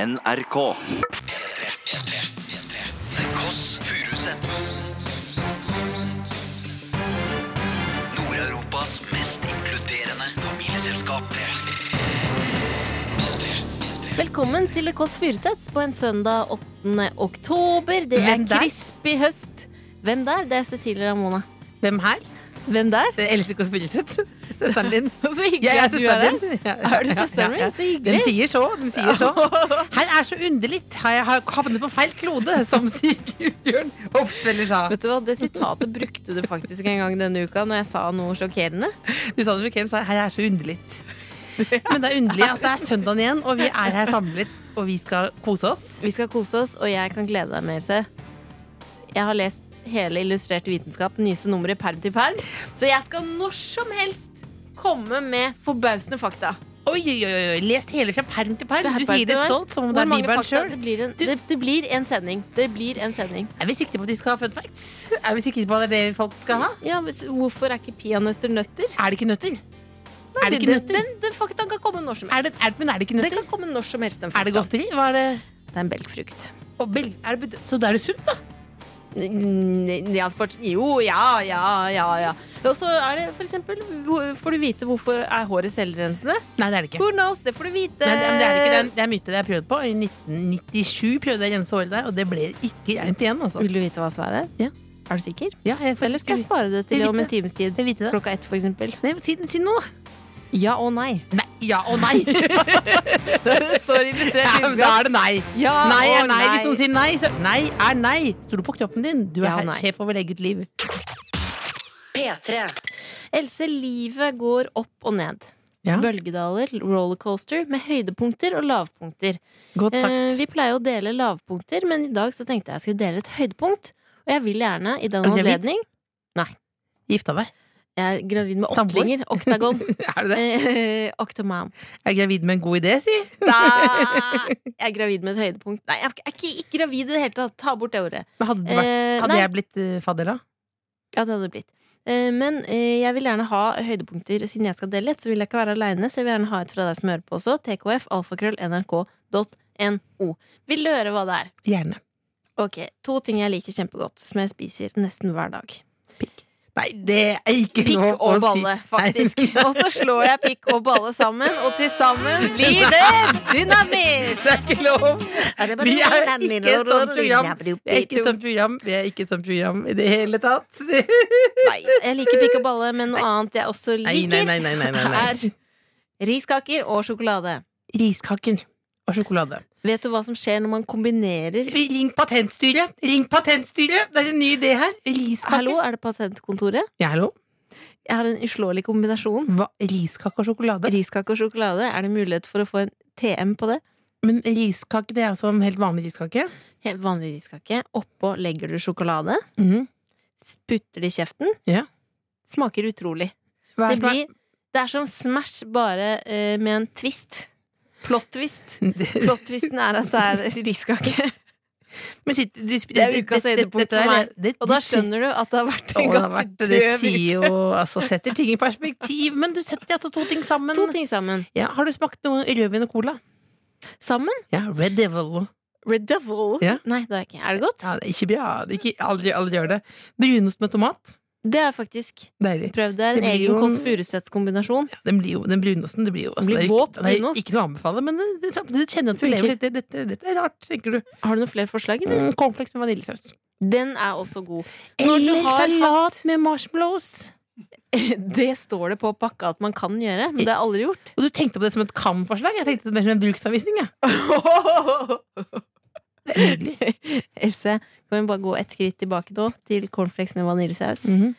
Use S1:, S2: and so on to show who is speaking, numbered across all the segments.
S1: NRK.
S2: The Koss Furusets Nord-Europas mest inkluderende familieselskap
S3: Velkommen til Kåss Furuseths på en søndag 8. oktober. Det er
S4: Hvem der?
S3: crispy høst. Hvem der? Det er Cecilie Ramona.
S4: Hvem her?
S3: Hvem der?
S4: Det er Else Kåss Furuseth. Søsteren din.
S3: Så hyggelig
S4: Jeg er
S3: at du er
S4: søsteren
S3: her.
S4: din. Ja,
S3: Er du
S4: ja,
S3: søsteren
S4: ja,
S3: min?
S4: ja.
S3: Så hyggelig.
S4: De sier så. De sier så. Her er så underlig. Har jeg har havnet på feil klode, som Sigbjørn Opsveller sa.
S3: Vet du hva, Det sitatet brukte du faktisk en gang denne uka når jeg sa noe sjokkerende.
S4: Du sa det sjokkerende, sa jeg, her er så underlig. Men det er underlig at det er søndagen igjen, og vi er her samlet, og vi skal kose oss.
S3: Vi skal kose oss, og jeg kan glede deg mer, se. Jeg har lest hele Illustrert vitenskap, nyeste nummeret perm til perm, så jeg skal når som helst komme med forbausende fakta.
S4: Oi, oi, oi, oi. lest hele fra perm til perm.
S3: Fra
S4: Du
S3: perm
S4: sier det
S3: til perm.
S4: stolt, som om
S3: Hvor
S4: det er
S3: mange
S4: Bibelen
S3: fakta?
S4: sjøl.
S3: Det blir en- Det, det blir en sending. Det blir en sending.
S4: Er vi sikre på at de skal ha fun facts? Er vi sikre på at det er det folk skal ha?
S3: Ja, men s- Hvorfor er ikke peanøtter nøtter?
S4: Er det ikke nøtter? er det
S3: Den-
S4: ikke nøtter?
S3: Den, den faktaen kan komme når som helst.
S4: Er det, er, men er det ikke
S3: Den
S4: nøtter?
S3: kan komme når som helst. Den
S4: Er det
S3: faktaen.
S4: godteri? Hva er det?
S3: Det er en belgfrukt.
S4: Å, bel- er det bud- så da er det sunt, da?
S3: Mm, Ja, for, jo, ja, ja, ja. ja. Og så er det for eksempel hvor- Får du vite hvorfor er håret selvrensende?
S4: Nei, det er det ikke.
S3: Who knows? Det får du vite.
S4: Nei, det, men det er det ikke. Det er, det er myte. Det har jeg prøvd på. I 1997 prøvde jeg å rense håret der, og det ble ikke rent igjen, altså.
S3: Vil du vite hva svaret er?
S4: Ja.
S3: Er du sikker?
S4: Ja, jeg
S3: Eller skal jeg
S4: faktisk-
S3: spare det til
S4: Jeg vil
S3: om en
S4: vite.
S3: times tid?
S4: Jeg vil vite det.
S3: Klokka ett, for eksempel.
S4: Nei, men si, si noe, da.
S3: Ja og nei.
S4: Nei. Ja og nei. ja,
S3: Det står illustrert
S4: men da er det nei.
S3: Ja
S4: nei er
S3: og
S4: nei. Hvis
S3: nei.
S4: noen sier nei, så nei er nei. Stol på kroppen din. Du er
S3: Ja og nei.
S4: sjef over eget liv.
S3: Else, livet går opp og ned.
S4: Ja.
S3: Bølgedaler, rollercoaster med høydepunkter og lavpunkter.
S4: Godt
S3: Eh,
S4: sagt.
S3: vi pleier jo å dele lavpunkter, men i dag så tenkte jeg jeg skulle dele et høydepunkt. Og jeg vil gjerne, i den
S4: Er du gravid?
S3: anledning
S4: Gifta deg.
S3: Jeg er gravid med
S4: Samboer?
S3: åttlinger. Oktagon.
S4: er du det?
S3: Eh, Octomam.
S4: Jeg er gravid med en god idé, si.
S3: Da- Jeg er gravid med et høydepunkt. Nei, jeg er ikke, ikke gravid i det hele tatt. Ta bort det ordet.
S4: Men hadde, det vært,
S3: Eh,
S4: hadde
S3: nei,
S4: jeg blitt eh, fadder da?
S3: Ja, det hadde det blitt. Eh, Men eh, jeg vil gjerne ha høydepunkter. Siden jeg skal dele et, så vil jeg ikke være aleine. Så jeg vil gjerne ha et fra deg som hører på også. TKF, alfakrøll, nrk.no. Vil du høre hva det er?
S4: Gjerne.
S3: Ok, To ting jeg liker kjempegodt, som jeg spiser nesten hver dag.
S4: Nei, det er ikke
S3: Pikk
S4: lov å
S3: og
S4: si.
S3: balle, faktisk.
S4: Nei.
S3: Og så slår jeg pikk og balle sammen, og til sammen blir det dynamitt!
S4: Det er ikke lov! Vi er ikke et sånt program. Vi er ikke et sånt program. Vi er ikke et sånt program i det hele tatt.
S3: Nei, jeg liker pikk og balle, men noe annet jeg også
S4: Nei,
S3: liker,
S4: nei, nei, nei, nei, nei, nei.
S3: er riskaker og sjokolade.
S4: Riskaker og sjokolade.
S3: Vet du hva som skjer når man kombinerer
S4: Ring patentstyret! Ring patentstyret! Det er en ny idé her. Riskaker.
S3: Hallo, er det patentkontoret?
S4: Ja, hallo.
S3: Jeg har en uslåelig kombinasjon.
S4: Hva? Riskake og sjokolade?
S3: Riskake og sjokolade, er det mulighet for å få en TM på det?
S4: Men riskake det er altså en helt vanlig riskake?
S3: Helt vanlig riskake. Oppå legger du sjokolade.
S4: Mhm.
S3: Sputter det i kjeften.
S4: Ja.
S3: Smaker utrolig.
S4: Hva
S3: Det,
S4: er
S3: blir, det er som Smash, bare eh, med en twist. Plot-twist.
S4: blir
S3: Plot-twisten er at det er riskake.
S4: Men sitt, du,
S3: Det er ukas høydepunkt
S4: dette er-
S3: for meg.
S4: det-
S3: Og da
S4: det-
S3: skjønner du at det har vært
S4: Å,
S3: en
S4: det har
S3: ganske
S4: vært, det
S3: død uke.
S4: sier jo altså, Setter ting i perspektiv, men du setter altså to ting sammen.
S3: To ting sammen.
S4: Ja, har du smakt noe rødvin og cola?
S3: Sammen?
S4: Ja, Red Devil.
S3: Red Devil.
S4: Ja.
S3: Nei, det er ikke. Er det godt?
S4: Ja, det er ikke bra. Det er ikke, aldri, aldri gjør det. Brunost med tomat.
S3: Det har jeg faktisk
S4: Deilig.
S3: prøvd. Det er en
S4: Det blir
S3: egen
S4: jo-
S3: Kåss Furuseths-kombinasjon.
S4: Ja, den, blir jo, den brunosten det blir jo altså,
S3: blir
S4: det er jo
S3: våt
S4: ikke- det er
S3: brunost.
S4: Ikke noe å anbefale, men eh, det- det- samtidig kjenner jeg at du
S3: Funker.
S4: lever litt. Det- Dette, dette er rart, tenker du.
S3: Har du noen flere forslag? Eller?
S4: Mm, Cornflakes med vaniljesaus.
S3: Den er også god. Når du
S4: Eller
S3: har
S4: salat med marshmallows.
S3: Det står det på pakka at man kan gjøre, men det er aldri gjort.
S4: Og du tenkte på det som et kan-forslag? Jeg tenkte det mer som en bruksanvisning. jeg. Det er nydelig.
S3: Else, kan vi bare gå ett skritt tilbake nå, til cornflakes med vaniljesaus?
S4: Mhm.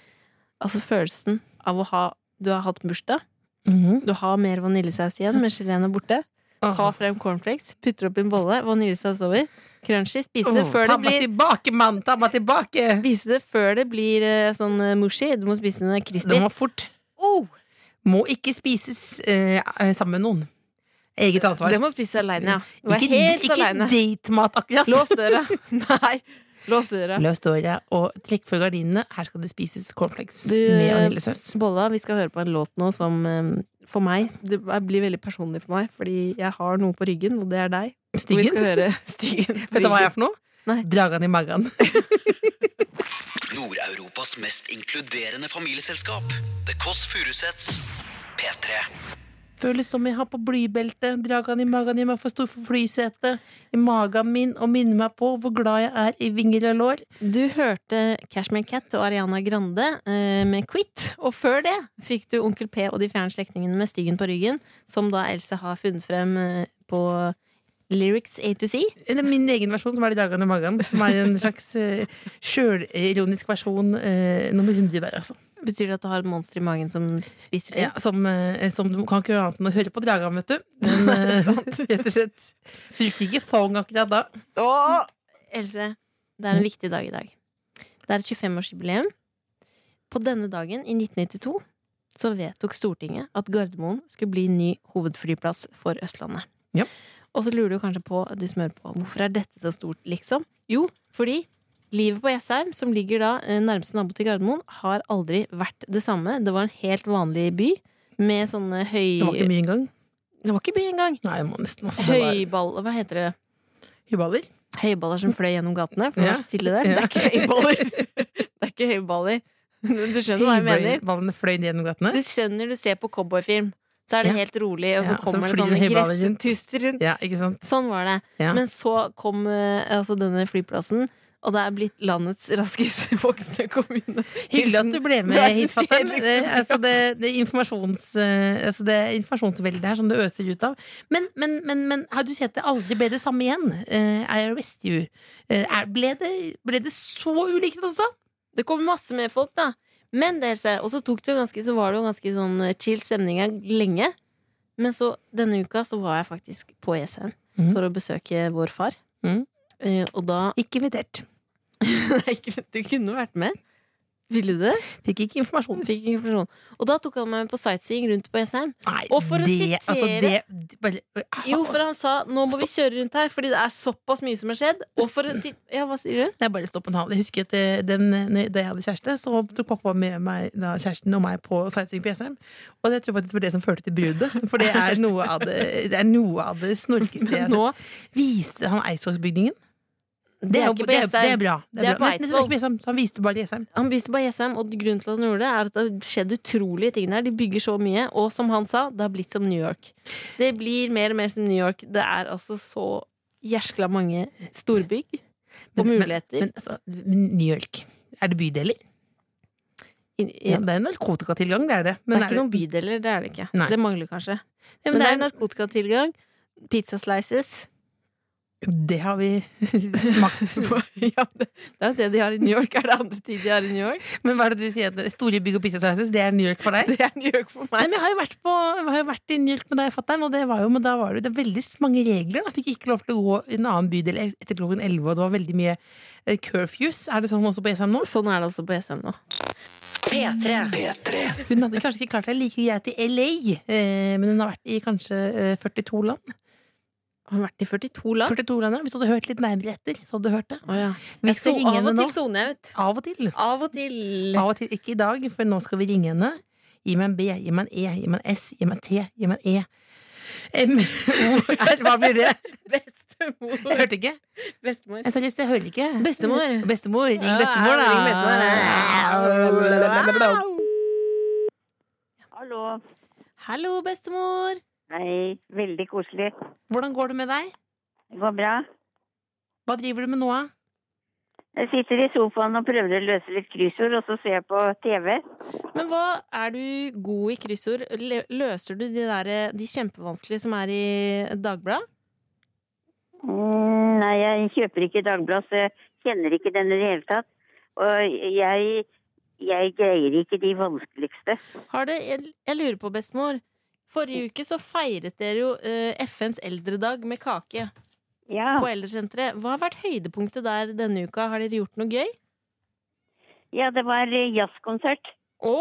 S3: Altså følelsen av å ha Du har hatt bursdag,
S4: Mhm.
S3: du har mer vaniljesaus igjen, men geleen er borte. Ta frem cornflakes, putter opp i en bolle, vaniljesaus over. Crunchy. Spise det
S4: Åh,
S3: før
S4: ta
S3: det
S4: meg
S3: blir
S4: tilbake, mann! Ta meg tilbake!
S3: Spise det før det blir eh, sånn eh, mushy. Du må spise det når det er crispy.
S4: Det må fort.
S3: Oh!
S4: Må ikke spises eh, sammen med noen. Eget ansvar.
S3: Det må spise aleine, ja. Du er
S4: altså ikke
S3: helt
S4: ikke
S3: aleine.
S4: datemat, akkurat.
S3: Lås døra. Nei, lås døra.
S4: Løs døra og trekk for gardinene. Her skal det spises cornflakes
S3: Du,
S4: med
S3: eh,
S4: vaniljesaus.
S3: Bolla, vi skal høre på en låt nå som eh, for meg Det blir veldig personlig for meg, fordi jeg har noe på ryggen, og det er deg. Og vi
S4: Styggen.
S3: skal høre Stigen.
S4: Vet du hva jeg er for noe?
S3: Nei.
S4: Dragan i magen.
S2: Nord-Europas mest inkluderende familieselskap. The Kåss Furuseths. P3.
S4: Føles som jeg har på blybelte. Dragan i magen gjør meg for stor for flysetet. I magen min og minner meg på hvor glad jeg er i vinger og lår.
S3: Du hørte Cashmere Cat og Ariana Grande eh, med Quit. Og før det fikk du Onkel P og de fjerne slektningene med Styggen på ryggen, som da Else har funnet frem eh, på Lyrics A to C.
S4: Eller min egen versjon, som er de dagene i magen. Som er en slags uh, sjølironisk versjon eh, nummer 100 der, altså.
S3: Betyr det at du har et monster i magen som spiser
S4: Ja,
S3: ting?
S4: som, eh, som du kan ikke gjøre annet enn å høre på Dragan, vet du. Men eh, rett og slett bruker ikke thong akkurat da.
S3: Else, det er en viktig dag i dag. Det er et 25-årsjubileum. På denne dagen, i 1992, så vedtok Stortinget at Gardermoen skulle bli ny hovedflyplass for Østlandet.
S4: Ja.
S3: Og så lurer du kanskje på, du smører på, hvorfor er dette så stort, liksom? Jo, fordi livet på Jessheim, som ligger da eh, nærmeste nabo til Gardermoen, har aldri vært det samme. Det var en helt vanlig by med sånne høy...
S4: Det var ikke mye engang.
S3: Det var ikke by engang.
S4: Nei, jeg må nesten altså, det var
S3: Høyball, hva heter det?
S4: Hyballer.
S3: høyballer som fløy gjennom gatene. For det
S4: Ja.
S3: var så stille der. Det
S4: Ja.
S3: er ikke høyballer. Det er ikke høyballer. Du skjønner hva jeg mener?
S4: Høyballene fløy ned gjennom gatene.
S3: Du skjønner du ser på cowboyfilm, så er det
S4: Ja.
S3: helt rolig, og så
S4: Ja, så
S3: kommer det
S4: flyr
S3: sånne
S4: høyballer rundt.
S3: gresstuster rundt.
S4: Ja, ikke sant?
S3: Sånn var det.
S4: Ja.
S3: Men så kom eh, altså denne flyplassen, og det er blitt landets raskest voksende kommune.
S4: Hyggelig at du ble med
S3: Hilsen
S4: hit, Fatem.
S3: verdens
S4: Det,
S3: kjedeligste
S4: altså det, det, informasjons, eh, altså det informasjonsveldet her som det øser ut av. Men, men, men, men har du sett det aldri ble det samme igjen? Eh, I arrest you. Eh, er, ble, det, ble det så ulikt også?
S3: Det kom masse mer folk, da. Men det Else, og så tok det jo ganske, så var det jo ganske sånn chill stemning her lenge. Men så denne uka så var jeg faktisk på Jessheim
S4: Mhm.
S3: for å besøke vår far.
S4: Mhm.
S3: Eh, og da
S4: Ikke invitert.
S3: Nei, ikke- Du kunne vært med. Ville du det?
S4: Fikk ikke informasjon.
S3: Fikk ikke informasjon. Og da tok han meg med på sightseeing rundt på E Jessheim.
S4: Nei, altså,
S3: Og for å sitere-
S4: det, bare,
S3: Jo, for han sa 'nå må vi kjøre rundt her', fordi det er såpass mye som har skjedd. Og for å si Ja, hva sier du?
S4: Det er bare stopp en halv. Jeg husker at eh, den, når- da jeg hadde kjæreste, så tok pappa med meg, da, kjæresten og meg på sightseeing på Jessheim. Og det tror jeg faktisk var det som førte til bruddet. For det er noe av det, det, er noe av det snorkeste jeg har sett.
S3: Nå
S4: Viste han Eidsvollsbygningen?
S3: Det er
S4: jo-
S3: ikke på E
S4: det er, det
S3: Jessheim.
S4: er bra. Det er,
S3: Det er på
S4: bra. Nei, nei, det er ikke på Jessheim. Så han viste bare Jessheim.
S3: Han viste bare Jessheim, og grunnen til at han gjorde det, er at det har skjedd utrolige ting der. De bygger så mye, og som han sa, det har blitt som New York. Det blir mer og mer som New York. Det er altså så jæskla mange storbygg og
S4: Men-
S3: muligheter.
S4: Men altså, New York. Er det bydeler?
S3: I- i-
S4: Ja, det er narkotikatilgang, det er det.
S3: det er ikke noen bydeler, det er det ikke.
S4: Nei.
S3: Det mangler kanskje.
S4: Ja,
S3: Men det er narkotikatilgang, pizza slices
S4: det har vi smakt.
S3: ja, det, det er jo det de har i New York. Er det andre ting de har i New York?
S4: Men hva er det du sier? at Store bygg og pizzasauser, det er New York for deg?
S3: Det er New York for
S4: Nei,
S3: meg.
S4: men jeg har jo vært, på, jeg har jo vært i New York med deg, fatter'n, og det var jo, men da var det, det er veldig mange regler. Da. Jeg fikk ikke lov til å gå i en annen bydel etter klokken 11, og det var veldig mye eh, curfews. Er det sånn også på Jessheim nå?
S3: Sånn er det også på SM nå.
S2: P3.
S4: Hun hadde kanskje ikke klart seg like greit i LA, eh, men hun har vært i kanskje eh, 42 land.
S3: Har han vært i 42 land?
S4: 42 land, ja. Hvis du hadde hørt litt nærmere etter, så hadde du hørt det.
S3: Å ja.
S4: Vi
S3: Jeg
S4: skal
S3: so-
S4: ringe
S3: av
S4: henne
S3: og
S4: nå.
S3: til soner jeg ut.
S4: Av og til.
S3: Av og til.
S4: Av og til. Ikke i dag, for nå skal vi ringe henne. Gi meg en B, gi meg en E, gi meg en S, gi meg en T, gi meg en E. M, O, R, hva blir det? Jeg
S3: Bestemor.
S4: hørte ikke.
S3: Bestemor.
S4: Jeg seriøst, jeg hører ikke.
S3: Bestemor.
S4: Bestemor. Ring bestemor, da.
S3: Ring bestemor, da.
S1: Hallo.
S3: Hallo, bestemor.
S1: Hei. Veldig koselig.
S4: Hvordan går det med deg?
S1: Det går bra.
S4: Hva driver du med nå? da?
S1: Jeg sitter i sofaen og prøver å løse litt kryssord, og så ser jeg på TV.
S3: Men hva er du god i kryssord? Lø- Løser du de, der, de kjempevanskelige som er i Dagbladet?
S1: Mm, nei, jeg kjøper ikke Dagbladet, så jeg kjenner ikke den i det hele tatt. Og jeg, jeg greier ikke de vanskeligste.
S3: Har det, jeg, jeg lurer på, bestemor. Forrige uke så feiret dere jo eh, FNs eldredag med kake
S1: Ja,
S3: på eldresenteret. Hva har vært høydepunktet der denne uka? Har dere gjort noe gøy?
S1: ja det var eh, jazzkonsert.
S3: Å!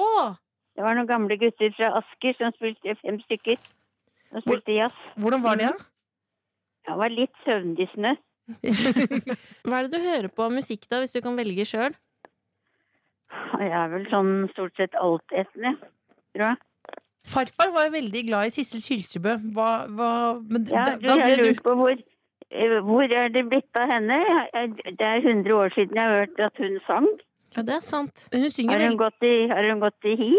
S1: Det var noen gamle gutter fra Asker som spilte fem stykker. Som spilte jazz.
S4: Hvordan var det? da?
S1: Jeg var litt søvndyssende.
S3: Hva er det du hører på av musikk, da, hvis du kan velge sjøl?
S1: Jeg er vel sånn stort sett altetende, tror jeg.
S4: Farfar var jo veldig glad i Sissel Kyrkjebø. Hva, hva, men
S1: Ja,
S4: da,
S1: du,
S4: da
S1: jeg
S4: ble
S1: lurer
S4: du
S1: på hvor eh, hvor er det blitt av henne? Jeg- jeg- Det er 100 år siden jeg har hørt at hun sang.
S3: Ja, det er sant.
S4: Hun synger
S1: Har
S4: vel
S1: hun gått i, har hun gått i hi?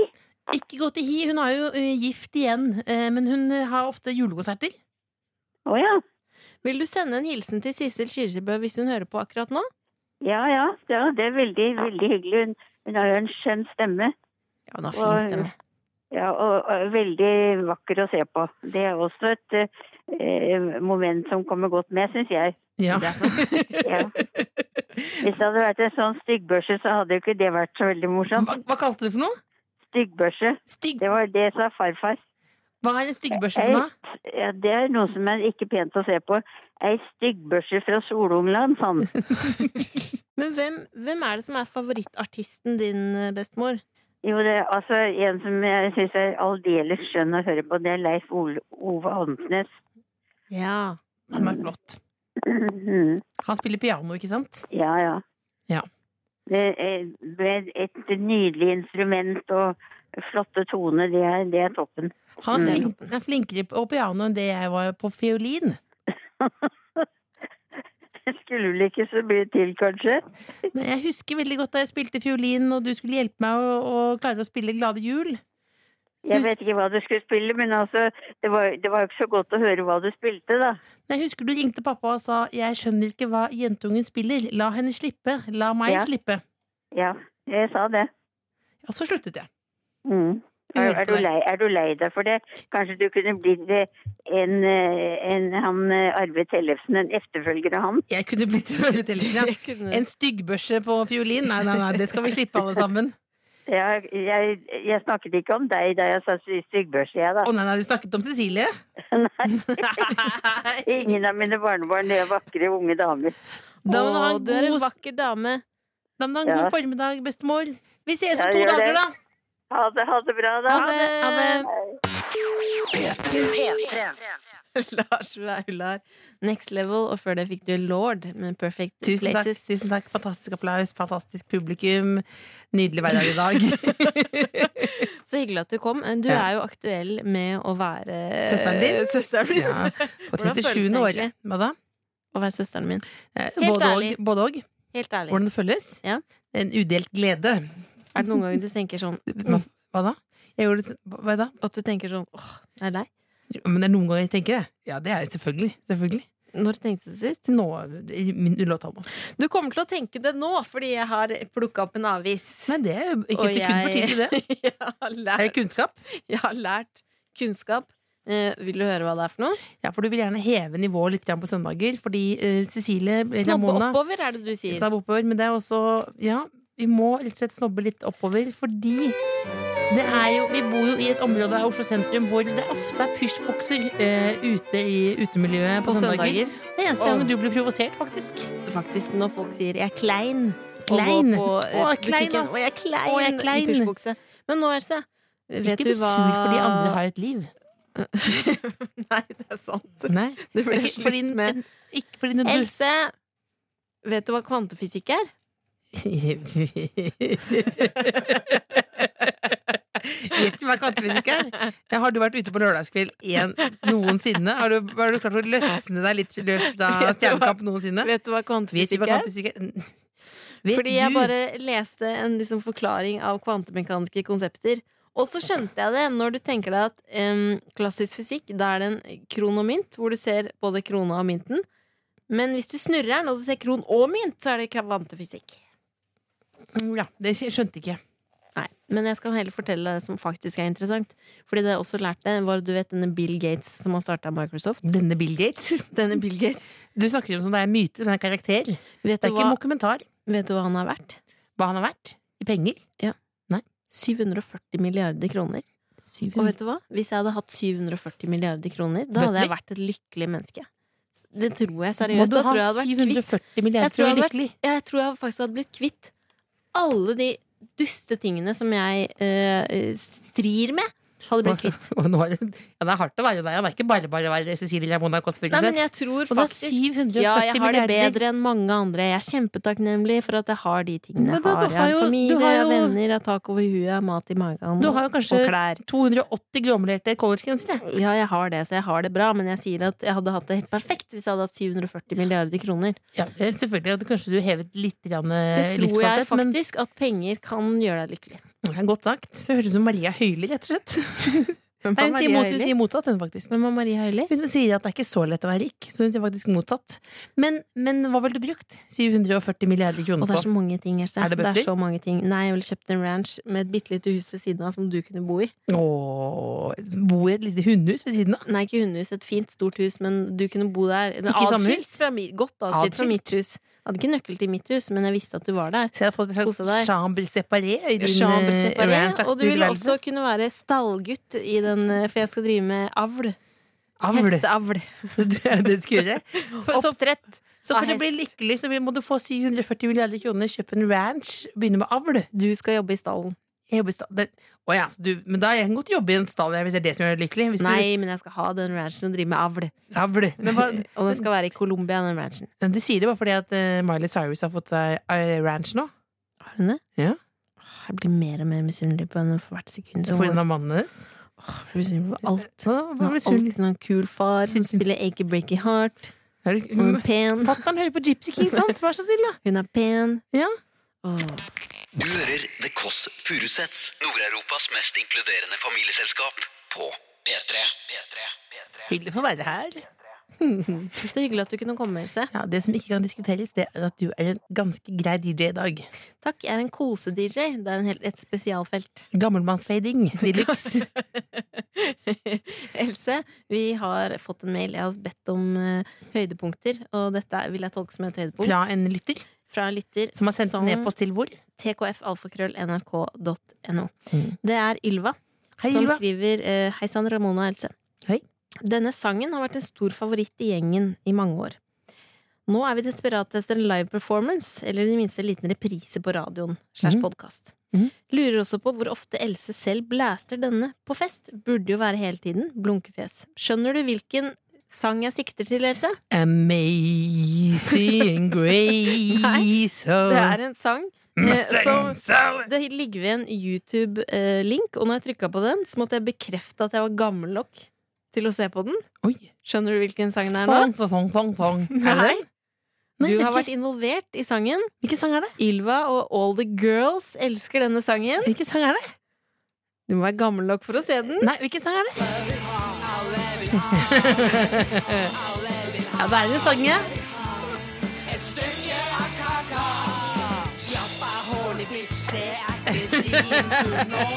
S4: ikke godt i hi. Hun er jo eh, gift igjen, eh, men hun eh, har ofte julekonserter.
S1: Å ja.
S3: Vil du sende en hilsen til Sissel Kyrkjebø hvis hun hører på akkurat nå?
S1: Ja, ja. ja det er veldig, veldig hyggelig. Hun, hun har jo en skjønn stemme.
S3: Ja, hun har
S1: Og-
S3: fin stemme.
S1: Ja, og, og veldig vakker å se på. Det er også et eh, moment som kommer godt med, syns jeg.
S4: Ja.
S3: Det er sant.
S1: Ja. Hvis det hadde vært en sånn styggbørse, så hadde jo ikke det vært så veldig morsomt.
S4: Hva, hva kalte du det for noe?
S1: Styggbørse.
S4: Stygg?
S1: Det var det sa farfar.
S4: Hva er en styggbørse for noe?
S1: Ja, det er noe som er ikke pent å se på. Ei styggbørse fra Solungland, sa han.
S3: Men hvem, hvem er det som er favorittartisten din, eh, bestemor?
S1: Jo, det er altså en som jeg syns er aldeles skjønn å høre på, det er Leif Ole, Ove Hansnes.
S3: Ja.
S4: Han er flott. Han spiller piano, ikke sant?
S1: ja, ja.
S4: Ja.
S1: Det er, med et nydelig instrument og flotte toner, det er, det er toppen.
S4: Han
S1: Mm.
S4: er, flink, han er flinkere på piano enn det jeg var på fiolin.
S1: Det skulle vel ikke så mye til, kanskje?
S4: Nei, Jeg husker veldig godt da jeg spilte fiolin, og du skulle hjelpe meg å, å klare å spille Glade jul.
S1: Jeg
S4: Tusen-
S1: vet ikke hva du skulle spille, men altså, det var det var jo ikke så godt å høre hva du spilte, da.
S4: Men Jeg husker du ringte pappa og sa 'jeg skjønner ikke hva jentungen spiller', la henne slippe, la meg
S1: Ja.
S4: slippe.
S1: Ja, jeg sa det.
S4: Ja, så sluttet jeg.
S1: Mm.
S4: Jeg
S1: Er,
S4: hørte
S1: er, du
S4: deg.
S1: lei, er du lei deg for det? Kanskje du kunne blitt eh, en, eh, en han eh, Arve Tellefsen, en efterfølger av han?
S4: Jeg kunne blitt ja.
S3: Jeg kunne-
S4: En styggbørse på fiolin? Nei, nei, nei, det skal vi slippe alle sammen.
S1: Ja, jeg, jeg snakket ikke om deg da jeg sa sy- styggbørse, jeg, da.
S4: Å nei, nei, du snakket om Cecilie?
S1: Ingen av mine barnebarn er vakre unge damer.
S4: Da må du ha
S3: Å,
S4: en
S3: du er en
S4: god,
S3: vakker dame.
S4: da må du ha en god
S1: Ja.
S4: formiddag, bestemor. Vi ses om
S1: Ja,
S4: to
S1: gjør
S4: dager,
S1: det.
S4: da!
S1: Ha det, ha det bra, da.
S4: Ha det! Ha det.
S3: Lars Vaular. Next Level, og før det fikk du Lord med Perfect
S4: Tusen takk,
S3: Places.
S4: tusen takk. Fantastisk applaus, fantastisk publikum. Nydelig hverdag i dag.
S3: Så hyggelig at du kom. Du
S4: Ja.
S3: er jo aktuell med å være
S4: Eh, Søsteren din?
S3: Søsteren min.
S4: ja, på
S3: Hvordan føles det
S4: 37.
S3: egentlig?
S4: året. Hva da?
S3: Å være søsteren min.
S4: Eh,
S3: Helt
S4: Både og.
S3: ærlig.
S4: Både og.
S3: Helt ærlig.
S4: Hvordan det føles?
S3: Ja.
S4: En udelt glede.
S3: Er det noen ganger du tenker sånn
S4: Hva, hva da? Jeg gjorde det, s- hva da?
S3: At du tenker sånn åh, det er deg?
S4: Jo, Men det er noen ganger jeg tenker det. Ja, det er jeg selvfølgelig. selvfølgelig.
S3: Når tenkte du det sist?
S4: Nå, i min ulovtalma.
S3: Du kommer til å tenke det nå, fordi jeg har plukka opp en avis.
S4: Nei, det er jo ikke et
S3: Og
S4: sekund for tidlig, det.
S3: jeg har
S4: Er det
S3: lært,
S4: kunnskap?
S3: jeg har lært kunnskap. Eh, vil du høre hva det er for noe?
S4: Ja, for du vil gjerne heve nivået litt grann på søndager, fordi eh, Cecilie
S3: Snobbe
S4: Ramona
S3: oppover, er det du sier.
S4: Snabb oppover, men det er også Ja, vi må rett og slett snobbe litt oppover, fordi det er jo, vi bor jo i et område av Oslo sentrum hvor det ofte er pysjbokser eh, ute i utemiljøet på,
S3: På
S4: søndager.
S3: søndager.
S4: Det eneste
S3: Åh.
S4: gangen du blir provosert, faktisk.
S3: Faktisk, når folk sier 'jeg er klein',
S4: Klein.
S3: og går på eh,
S4: Åh, klein,
S3: butikken
S4: ass.
S3: 'og jeg er klein',
S4: Åh, jeg er klein.
S3: i pysjbukse. Men nå, Else, vet
S4: Ikke
S3: du
S4: bli
S3: hva
S4: sur fordi andre har et liv.
S3: Nei, det er sant.
S4: Nei.
S3: Det ble
S4: Ikke
S3: slutt
S4: fordi,
S3: med
S4: ikke fordi når du
S3: Else, vet du hva kvantefysikk er?
S4: Vet du hva kvantefysikk er? Ja, Har du vært ute på lørdagskveld igjen noensinne? Har du, har du klart å løsne deg litt løs fra
S3: Vet du hva-
S4: Stjernekamp noensinne?
S3: Vet du hva
S4: Vet du
S3: kvantefysikk
S4: hva
S3: er?
S4: kvantefysikk er? Vet
S3: Fordi jeg
S4: du?
S3: bare leste en liksom forklaring av kvantemekaniske konsepter. Og så skjønte jeg det når du tenker deg at em, klassisk fysikk, da er det en kron og mynt, hvor du ser både krona og mynten. Men hvis du snurrer den og du ser kron og mynt, så er det kvantefysikk.
S4: Mm, Ja, det skj- skjønte ikke jeg.
S3: Nei, Men jeg skal heller fortelle deg det som faktisk er interessant. Fordi det jeg også lærte, var du vet denne Bill Gates som har starta Microsoft.
S4: Denne Bill Gates.
S3: Denne Bill Gates.
S4: Du snakker om som det er en myte, men det er en karakter. Det
S3: Vet
S4: er
S3: du,
S4: ikke
S3: hva,
S4: en dokumentar.
S3: vet du hva han er verdt?
S4: Hva han har vært? I penger?
S3: 740 milliarder kroner. Og vet du hva? Hvis jeg hadde hatt 740 milliarder kroner, da hadde jeg vært et lykkelig menneske. Det tror jeg
S4: Må
S3: seriøst.
S4: du
S3: Da
S4: ha
S3: tror jeg hadde vært kvitt.
S4: 740 milliarder
S3: Jeg tror
S4: for å
S3: jeg
S4: være
S3: hadde
S4: lykkelig?
S3: Jeg tror jeg faktisk hadde blitt kvitt alle de duste tingene som jeg eh, eh, strir med. Hadde blitt kvitt.
S4: Og nå er det, ja, det er hardt å være deg. Han er ikke bare bare å være Cecilie Ramona Kåss
S3: Nei, men jeg
S4: Furuseth.
S3: tror
S4: Og det er
S3: faktisk
S4: 740
S3: Ja, jeg har det
S4: milliarder.
S3: bedre enn mange andre. Jeg er kjempetakknemlig for at jeg har de tingene
S4: Men
S3: jeg
S4: da,
S3: har.
S4: du
S3: Jeg
S4: har
S3: har
S4: jo-
S3: familie,
S4: du har
S3: jeg har
S4: jo-
S3: venner, jeg har tak over huet, jeg har mat i magen
S4: Du har jo kanskje
S3: og klær.
S4: 280 gråmelerte collegegensere.
S3: Ja, jeg har det, så jeg har det bra, men jeg sier at jeg hadde hatt det helt perfekt hvis jeg hadde hatt 740 milliarder kroner.
S4: Ja, det er selvfølgelig at kanskje du hevet litt grann,
S3: Det
S4: eh,
S3: tror jeg
S4: livskvalitet, men
S3: faktisk at penger kan gjøre deg lykkelig.
S4: det er godt sagt. Det høres ut som Maria Høili, rett og slett. Nei, hun, sier mot, hun sier motsatt, hun faktisk.
S3: Hvem er Maria Høili?
S4: Hun som sier at det er ikke så lett å være rik, så hun sier faktisk motsatt. Men, men hva ville du brukt 740 milliarder
S3: Og
S4: kroner
S3: det er
S4: på?
S3: så mange ting. Else.
S4: Er det
S3: det
S4: bøtter?
S3: er så mange ting. Nei, jeg ville kjøpt en ranch med et bitte lite hus ved siden av som du kunne bo i.
S4: Åh, bo i et lite hundehus ved siden av?
S3: Nei, ikke hundehus. Et fint, stort hus, men du kunne bo der. Men
S4: Ikke i samme
S3: adskilt
S4: hus?
S3: fra mi- Godt adskilt fra
S4: Adskilt?
S3: mitt hus. Jeg hadde ikke nøkkel til mitt hus, men jeg visste at du var der.
S4: Så jeg har fått et
S3: Kose
S4: slags
S3: deg.
S4: chambre séparé i din
S3: Chambre
S4: eh,
S3: séparé,
S4: ranchaktige
S3: sånn og du ville
S4: tilværelse.
S3: også kunne være stallgutt i den, eh, for jeg skal drive med avl.
S4: Avl!
S3: Hesteavl.
S4: Du er det du skulle gjøre. For, så,
S3: Oppdrett.
S4: så
S3: av
S4: for å bli
S3: hest.
S4: lykkelig så må du få 740 milliarder kroner, kjøpe en ranch, begynne med avl.
S3: Du skal jobbe i stallen.
S4: Jeg jobber i stall. Det, å ja, så du, men da jeg kan godt jobbe i en stall jeg, hvis det er det som gjør deg lykkelig. Hvis
S3: Nei, men jeg skal ha den ranchen og drive med avl.
S4: Du, avl. Men hva,
S3: Og den skal være i Colombia, den ranchen.
S4: du sier det bare fordi at eh, Miley Cyrus har fått seg eh, ranch nå.
S3: Har hun det?
S4: Ja.
S3: Åh, Jeg blir mer og mer misunnelig på henne for hvert sekund. som
S4: Fordi hun
S3: går.
S4: er mannen hennes.
S3: Åh, Jeg blir misunnelig på alt.
S4: Så da
S3: Hun har
S4: blir hun
S3: alltid en kul far som spiller Achy Breaky Heart. Hun er
S4: sur.
S3: pen.
S4: Fatter'n hører på Gypsy Kings hans, vær så snill, da.
S3: Hun er pen.
S4: Ja.
S3: Åh.
S2: Du hører The Kåss Furuseths, Nord-Europas mest inkluderende familieselskap, på P3. P3. P3.
S4: Hyggelig for å være her.
S3: Så hyggelig at du kunne komme, Else.
S4: Ja, Det som ikke kan diskuteres, det er at du er en ganske grei DJ i dag.
S3: Takk. Jeg er en kose-DJ. Det er en helt, et spesialfelt.
S4: Gammelmannsfading de luxe.
S3: Else, vi har fått en mail. Jeg har bedt om eh, høydepunkter, og dette vil jeg tolke som et høydepunkt.
S4: Fra en lytter
S3: Fra en lytter
S4: som har sendt en e-post til hvor?
S3: tkfalfakrøll.nrk.no.
S4: Mm.
S3: Det er Ylva
S4: Hei,
S3: som
S4: Ylva.
S3: skriver eh, Hei sann, Ramona og Else.
S4: Hei.
S3: Denne sangen har vært en stor favoritt i gjengen i mange år. Nå er vi desperate etter en live performance, eller i det minste en liten reprise på radioen slash
S4: Mhm.
S3: podkast.
S4: Mhm.
S3: Lurer også på hvor ofte Else selv blaster denne på fest. Burde jo være hele tiden. Blunkefjes. Skjønner du hvilken sang jeg sikter til, Else?
S4: Amazing grace
S3: Det er en sang eh, som
S4: Salad.
S3: Det ligger ved en YouTube-link, og når jeg trykka på den, så måtte jeg bekrefte at jeg var gammel nok til å se på den.
S4: Oi.
S3: Skjønner du hvilken sang det er nå?
S4: Song, song, song, song. Er det
S3: Nei.
S4: den? Nei,
S3: Du har
S4: hvilken-
S3: vært involvert i sangen.
S4: Hvilken sang er det?
S3: Ylva og All The Girls elsker denne sangen.
S4: Hvilken sang er det?
S3: Du må være gammel nok for å se den.
S4: Nei, hvilken sang er det? ja, det er en sang, ja.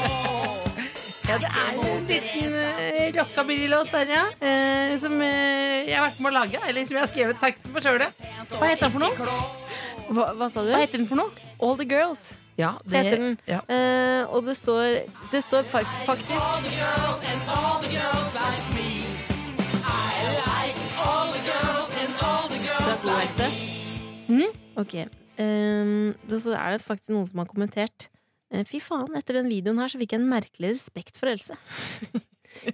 S4: Ja, det er jo en liten uh, rockabilly-låt der, ja. eh, som eh, jeg har vært med å lage. Eller som jeg har skrevet teksten på sjøl. Hva heter den for noe?
S3: Hva, hva sa du?
S4: Hva heter den for noe?
S3: All The Girls
S4: Ja, det
S3: heter den.
S4: ja.
S3: Eh, og det står, det står fak- faktisk Det er god helse. Mm, Ok. ehm, da- så er det faktisk noen som har kommentert. eh, Fy faen, etter den videoen her så fikk jeg en merkelig respekt for Else.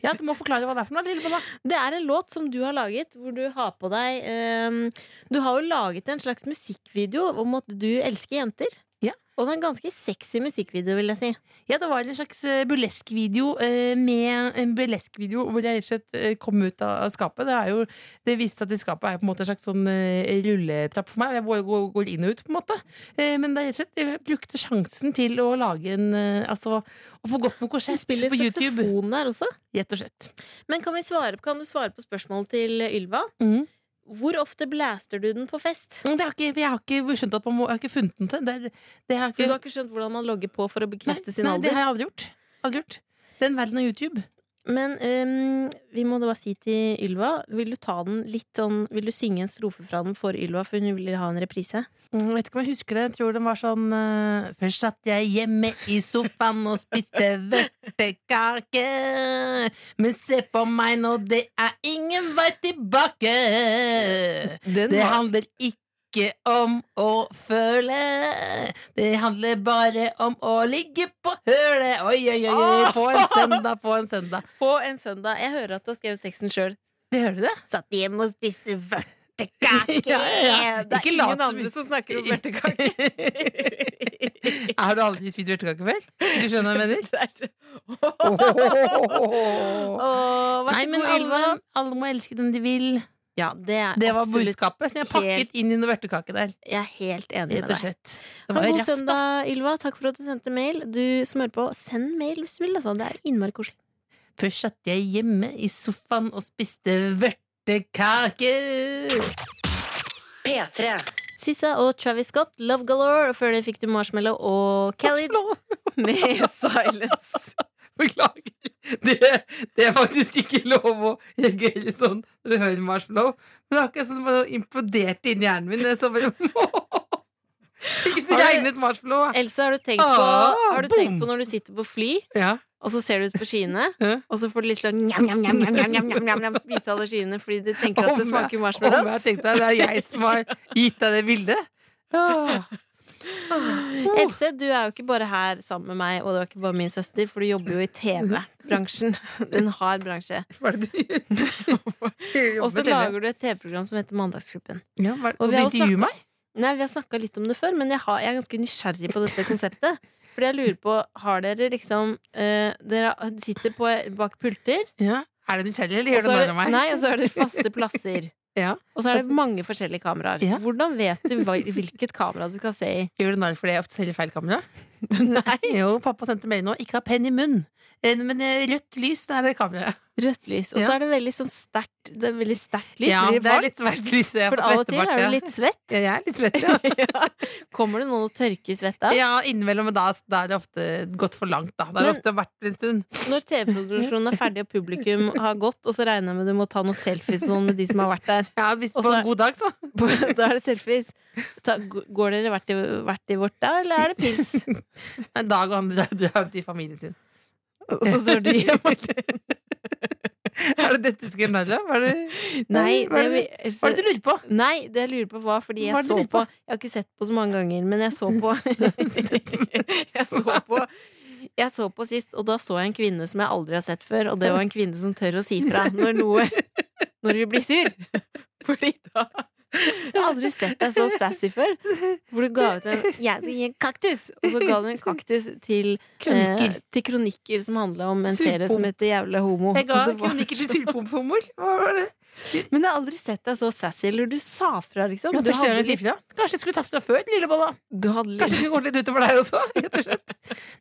S4: ja, du må forklare hva det er for noe, Lillebolla.
S3: Det er en låt som du har laget, hvor du har på deg ehm, Du har jo laget en slags musikkvideo om at du elsker jenter.
S4: Ja.
S3: Og det er en ganske sexy musikkvideo, vil jeg si.
S4: Ja, det var en slags eh, burleskvideo eh, med en burleskvideo hvor jeg rett og slett eh, kom ut av av skapet. Det, er jo, det viste seg at det skapet er på en måte en slags sånn eh, rulletrapp for meg. Jeg går, går, går inn og ut, på en måte. Eh, Men det er rett og slett, jeg brukte sjansen til å lage en eh, Altså å få gått med
S3: Du
S4: korsett
S3: spiller
S4: på YouTube.
S3: saksofon der også.
S4: Rett og slett.
S3: Men kan, vi svare, kan du svare på spørsmålet til Ylva?
S4: Mhm.
S3: Hvor ofte blaster du den på fest?
S4: Men Det har ikke, jeg har ikke skjønt at man må, jeg har ikke funnet den til. Det, er- det har
S3: For du
S4: jeg
S3: har
S4: ikke,
S3: ikke skjønt hvordan man logger på for å
S4: nei,
S3: bekrefte sin
S4: nei, det
S3: alder.
S4: har jeg aldri gjort. Aldri gjort. Den verden av YouTube.
S3: Men øhm, vi må da bare si til Ylva Vil du ta den litt sånn Vil du synge en strofe fra den for Ylva, for hun vil ha en reprise?
S4: Mm, Vet ikke om jeg husker det. Jeg tror den var sånn eh, Først satt jeg hjemme i sofaen og spiste vørtekake. Men se på meg nå, det er ingen vei tilbake.
S3: Den
S4: Det
S3: har-
S4: handler ikke ikke om å føle. Det handler bare om å ligge på hølet. Oi, oi, oi,
S3: Ah!
S4: oi. På en søndag, på en søndag.
S3: På en søndag. Jeg hører at du har skrevet teksten sjøl.
S4: Det hører du det?
S3: Satt hjemme og spiste vørtekake.
S4: Ja, ja, ja.
S3: Det er
S4: Ikke lat
S3: ingen
S4: som-
S3: andre som snakker om vørtekake.
S4: Har du aldri spist vørtekake før? Hvis du skjønner hva jeg mener?
S3: Det er så-
S4: Åh.
S3: Åh, Vær
S4: Nei,
S3: så
S4: men
S3: god,
S4: alle,
S3: Ylva.
S4: alle må elske den de vil.
S3: Ja, det er
S4: Det var
S3: absolutt
S4: budskapet som jeg
S3: helt-
S4: pakket inn i noe vørtekake der.
S3: Jeg er helt enig med
S4: Rett og
S3: deg.
S4: slett. Det
S3: Ha
S4: var
S3: en god
S4: raft, da.
S3: søndag, Ylva. Takk for at du sendte mail. Du som hører på, send mail hvis du vil. Altså. Det er innmari koselig.
S4: Først satt jeg hjemme i sofaen og spiste vørtekake.
S5: P3.
S3: Sissa og Travis Scott, Love Galore. Og før det fikk du Marshmallow og Kelly med Silence.
S4: Beklager. Det, det er faktisk ikke lov å reagere sånn når du hører Marshmallow. Men det er akkurat som det imploderte inni hjernen min. Jeg så bare Ikke
S3: Har
S4: så
S3: du-
S4: regnet Marshmallow. jeg.
S3: Else, har du tenkt på,
S4: Ah,
S3: har du tenkt
S4: boom.
S3: på når du sitter på fly,
S4: Ja.
S3: og så ser du ut på skiene,
S4: Hæ?
S3: og så får du litt sånn njam-njam-njam, spise alle skiene fordi du tenker at
S4: Om
S3: det
S4: jeg-
S3: smaker
S4: Om
S3: marshmallows?
S4: jeg tenkte at det er jeg som har gitt deg det bildet. Ah. Mm.
S3: Else, du er jo ikke bare her sammen med meg, og du er ikke bare min søster, for du jobber jo i TV-bransjen. Det er En hard bransje.
S4: Hva er det du gjør?
S3: Og så lager du et TV-program som heter Mandagsgruppen.
S4: ja, hva er det,
S3: Og
S4: Så
S3: vi
S4: du
S3: har også
S4: intervjuer
S3: snakket-
S4: meg?
S3: Nei, Vi har snakka litt om det før, men jeg, har, jeg er ganske nysgjerrig på dette konseptet. Fordi jeg lurer på, har dere liksom eh, Dere sitter på, bak pulter,
S4: Ja. Er du nysgjerrig, eller
S3: og
S4: gjør du
S3: så er
S4: altså- narr
S3: det,
S4: av meg?
S3: nei, og så er det faste plasser.
S4: Ja.
S3: Og så er det mange forskjellige kameraer.
S4: Ja.
S3: Hvordan vet du hva, hvilket kamera du skal se i?
S4: Gjør du narr fordi jeg ofte selger feil kamera? Nei. Jo, pappa sendte melding nå. Ikke ha penn i munn. Eh, Men eh, rødt lys, det er det kameraet.
S3: Rødt lys. Og
S4: Ja.
S3: så er det veldig sånn sterkt det er veldig sterkt lys.
S4: ja,
S3: blir det
S4: det er
S3: varmt?
S4: litt svært lys. Jeg
S3: For
S4: får
S3: av og til
S4: svettebart,
S3: er
S4: ja.
S3: du litt svett.
S4: Ja, jeg er litt svett, ja.
S3: Kommer det noen og tørker svett av?
S4: ja innimellom, men da, da er det ofte gått for langt, da. Da er det
S3: Men-
S4: ofte vært en stund.
S3: Når TV-produksjonen er ferdig og publikum har gått, og så regner jeg med du må ta noen selfies og sånn med de som har vært der.
S4: Ja, hvis
S3: Og
S4: på
S3: så er-
S4: en god dag, så.
S3: På- Da er det selfies. Ta, går dere hvert i, hvert i vårt da, eller er det pils?
S4: En dag og han drar drar til familien sin.
S3: Og så drar du hjem.
S4: Er det dette du skulle gjøre narr av? Hva er det
S3: Nei,
S4: hva er det,
S3: det-
S4: hva er det du lurer på?
S3: Nei, det jeg lurer på var fordi jeg
S4: Hva er det du
S3: så
S4: lurer
S3: på
S4: på?
S3: Jeg har ikke sett på så mange ganger, men jeg så på Jeg så på jeg så på sist, og da så jeg en kvinne som jeg aldri har sett før, og det var en kvinne som tør å si fra når noe Når hun blir sur. Fordi da Jeg har aldri sett deg så sassy før. Hvor du ga ut en Jeg skal gi en kaktus! Og så ga du en kaktus til
S4: Kronikker.
S3: Eh, til kronikker som handla om en
S4: Surpom.
S3: serie som heter Jævla homo.
S4: Jeg ga
S3: Og det var-
S4: kronikker til surpompehumor. Hva var det?
S3: Men jeg har aldri sett deg så sassy, eller du sa fra, liksom.
S4: Ja,
S3: Du
S4: første gang
S3: hadde
S4: jeg sier fra. Kanskje jeg skulle tafsa før, lillebolla.
S3: Du hadde litt
S4: Kanskje det går litt utover deg også, rett og slett.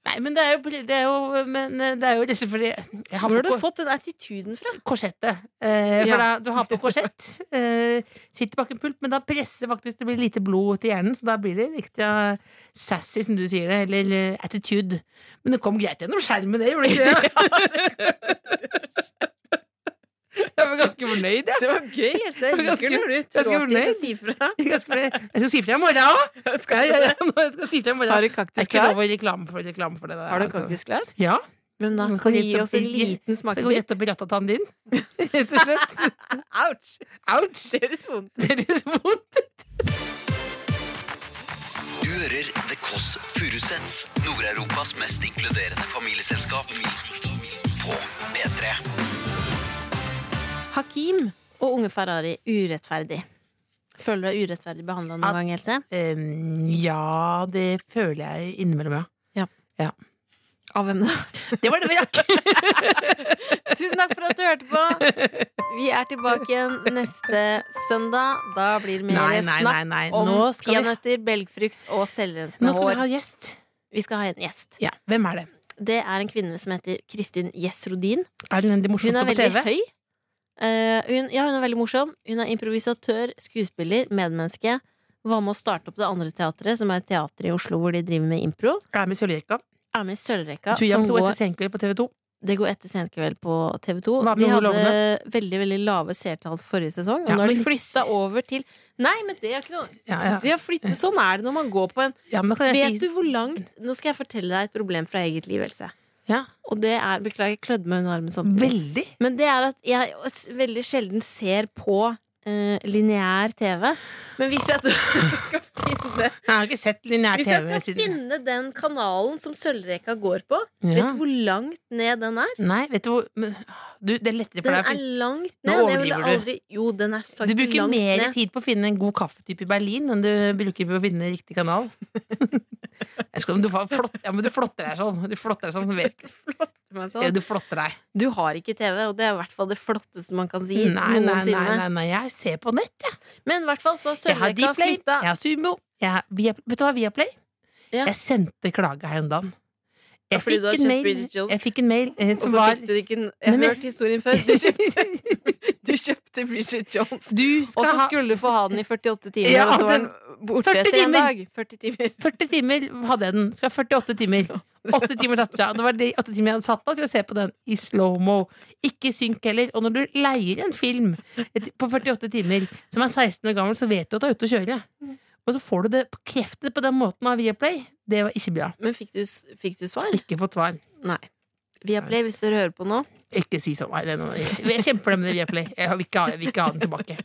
S4: Nei, men det er jo, det er jo, men eh, det er jo rett og slett fordi jeg har
S3: Hvor har
S4: på
S3: du fått den attituden fra?
S4: kor- korsettet. Eh, for
S3: Ja.
S4: da, du har på korsett, eh, sitter bak en pult, men da presser faktisk det blir lite blod til hjernen, så da blir det riktig eh, sassy, som du sier det, eller eh, attitude. Men det kom greit gjennom skjermen, det gjorde det ikke det? Jeg var ganske fornøyd, jeg.
S3: Det var gøy, Else. Jeg
S4: Ganske-
S3: liker når du
S4: ganske
S3: trår til å
S4: fornøyd.
S3: si fra.
S4: Jeg skal skrive- jeg skal si fra i morgen òg! Ja, ja, ja, nå skal jeg si fra i morgen.
S3: Har du
S4: Det er
S3: kaktus
S4: ikke
S3: klar?
S4: lov å reklame for, reklame for det. der.
S3: Har du kaktus klar?
S4: Ja.
S3: Hvem da?
S4: Nå
S3: Kan
S4: skal
S3: du
S4: jeg
S3: gi
S4: rette
S3: oss en
S4: opp i-
S3: liten
S4: Så jeg går
S3: smakebit?
S4: rett opp i rattatannen din. Rett og slett.
S3: Ouch!
S4: Ouch!
S3: Det høres vondt
S4: Det er litt vondt.
S2: Du hører The Kåss Furuseths, Nord-Europas mest inkluderende familieselskap. På P3.
S3: Hakim og unge Ferrari urettferdig. Føler du deg urettferdig behandla noen
S4: At-
S3: gang, Else?
S4: Um, ja, det føler jeg innimellom,
S3: Av hvem da?
S4: Det var det vi rakk!
S3: Tusen takk for at du hørte på! Vi er tilbake igjen neste søndag. Da blir det mer
S4: Nei, nei, nei.
S3: snakk
S4: nei.
S3: om
S4: Nå skal vi,
S3: peanøtter, belgfrukt og
S4: nå
S3: selvrensende
S4: skal vi
S3: hår.
S4: ha gjest.
S3: Vi skal ha en gjest.
S4: Ja, Hvem er det?
S3: Det er en kvinne som heter Kristin Gjesrodin.
S4: Er det den de
S3: Hun
S4: morsomste
S3: er
S4: på
S3: veldig
S4: TV?
S3: høy. Eh, hun, ja, hun er veldig morsom. Hun er improvisatør, skuespiller, medmenneske. Var med å starte opp det andre teatret, som er et teater i Oslo hvor de driver med impro.
S4: Jeg er med Sølvrekka.
S3: Er med i Sølvrekka,
S4: Tuyam
S3: som
S4: så
S3: går,
S4: etter Senkveld på TV 2.
S3: det går etter Senkveld på TV 2.
S4: Hva med
S3: De
S4: Ove
S3: hadde
S4: Lovne?
S3: veldig veldig lave seertall forrige sesong, og
S4: Ja,
S3: nå har
S4: men
S3: de
S4: litt-
S3: flytta over til Nei, men det er ikke noe
S4: Ja,
S3: de
S4: ja.
S3: har flyttet, Sånn er det når man går på en
S4: ja, men da kan jeg
S3: Vet
S4: si
S3: du hvor langt Nå skal jeg fortelle deg et problem fra eget liv, Else.
S4: Ja.
S3: Og det er Beklager, jeg klødde meg under armen samtidig.
S4: Veldig.
S3: Men det er at jeg s- veldig sjelden ser på eh, lineær TV. Men hvis jeg skal finne
S4: Jeg har ikke sett lineær
S3: Hvis
S4: TV
S3: jeg skal
S4: siden
S3: finne den kanalen som Sølvrekka går på,
S4: Ja.
S3: vet du hvor langt ned den er?
S4: Nei, vet du hvor men- du, Det er lettere for
S3: Den
S4: deg å
S3: er
S4: finne
S3: langt
S4: Nå
S3: ned. Jeg ville
S4: overdriver
S3: aldri, jo, den er
S4: Du
S3: faktisk
S4: bruker
S3: langt
S4: mer
S3: ned.
S4: tid på å finne en god kaffetype i Berlin enn du bruker på å finne riktig kanal. Jeg skal, du, var flott, ja, men du flotter deg sånn. Du flotter deg sånn. du vet.
S3: Men
S4: Ja,
S3: sånn,
S4: du flotter deg.
S3: Du har ikke TV, og det er i hvert fall det flotteste man kan si
S4: Nei, nei, nei,
S3: noensinne.
S4: nei, nei, jeg ser på nett, jeg.
S3: Men i hvert fall så har
S4: Jeg har
S3: Sølvrekka
S4: Dplay,
S3: flytta
S4: jeg har Sumo. Jeg har via, vet du hva, Viaplay?
S3: Ja.
S4: Jeg sendte klage her om dagen. Jeg
S3: fordi du
S4: fikk
S3: har
S4: en
S3: kjøpt
S4: mail,
S3: Bridget Jones.
S4: jeg fikk en mail eh,
S3: Og
S4: som
S3: så
S4: var
S3: fikk du det ikke Jeg
S4: Nei,
S3: har
S4: men-
S3: hørt historien før. Du kjøpte, du kjøpte Bridget Jones.
S4: Du
S3: Og
S4: skal
S3: så
S4: ha
S3: skulle du få ha den i 48 timer,
S4: Ja,
S3: og så var
S4: den-
S3: den borte
S4: 40
S3: etter en
S4: timer.
S3: dag. 40 timer.
S4: 40 timer hadde jeg den. Skal ha 48 timer. 8 timer tatt fra. Det var de 8 timene jeg hadde satt på til å se på den i slow-mo. Ikke synk heller. Og når du leier en film et- på 48 timer som er 16 år gammel, så vet du at du er ute å kjøre. Og så får du det bekreftet på den måten av Viaplay. Det var ikke bra.
S3: Men fikk du, s- fikk du svar?
S4: Ikke fått svar.
S3: Nei. Viaplay, hvis dere hører på nå.
S4: Ikke si sånn. Nei, det er noe. Jeg kjemper det med det Viaplay. Jeg vil ikke ha, jeg vil ikke ha den tilbake.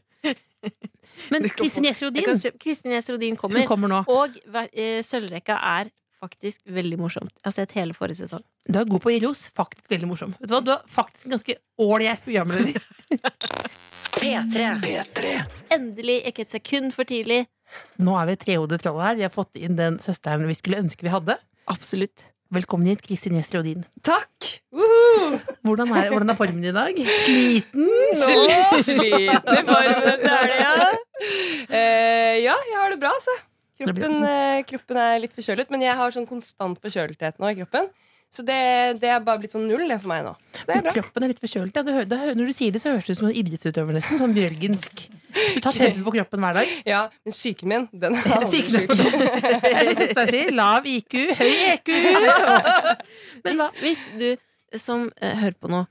S4: Men
S3: Du kan
S4: Kristin
S3: få-
S4: Gjess
S3: Jeg
S4: Rodin
S3: kan kjøpe- Kristin Gjess Rodin
S4: hun
S3: kommer.
S4: kommer nå.
S3: Og ver- eh, Sølvrekka er faktisk veldig morsomt. Jeg har sett hele forrige sesong.
S4: Du er god på å gi ros. Faktisk veldig morsom. Vet Du hva? Du er faktisk en ganske ålreit programleder.
S5: P3.
S2: P3.
S3: Endelig, ikke et sekund for tidlig.
S4: Nå er vi et trehodet troll her. Vi har fått inn den søsteren vi skulle ønske vi hadde.
S3: Absolutt.
S4: Velkommen hit, Kristin Gjest Rodin.
S6: Takk!
S4: Hvordan er, hvordan er formen i dag? Sliten?
S6: Slitne formen, det er det, ja. Eh, ja, jeg har det bra, altså. Kroppen, eh, kroppen er litt forkjølet, men jeg har sånn konstant forkjølethet nå i kroppen. Så det, det er bare blitt sånn null, det for meg nå. Så det er bra.
S4: Kroppen er litt forkjølet. Ja, du hø- det hø- når du sier det, så høres det ut som en idrettsutøver, nesten. Sånn bjørgensk. Du tar tempen på kroppen hver dag.
S6: Ja, Men psyken min, den er aldri
S4: Syken er
S6: sjuk.
S4: på Det er som søsteren sier. Lav IQ, høy EQ. Men hva?
S3: Hvis, hvis du som eh, hører på nå,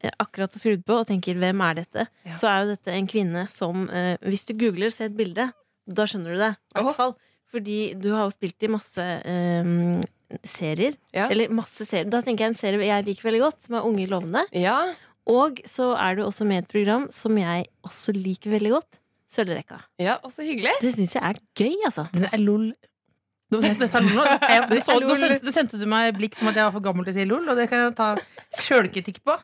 S3: eh, akkurat har skrudd på og tenker 'hvem er dette',
S6: Ja.
S3: så er jo dette en kvinne som eh, Hvis du googler, se et bilde, da skjønner du det. I
S6: Åhå.
S3: hvert fall. Fordi du har jo spilt i masse eh, serier.
S6: Ja.
S3: Eller masse serier. Da tenker jeg en serie jeg liker veldig godt, som er Unge lovende.
S6: Ja,
S3: Og så er du også med i et program som jeg også liker veldig godt. Sølvrekka.
S6: ja, og så hyggelig.
S3: Det syns jeg er gøy, altså.
S4: Den er lol. Du, du, du, så, nå sendte, nå sendte du meg blikk som at jeg var for gammel til å si lol, og det kan jeg ta sjølkritikk på.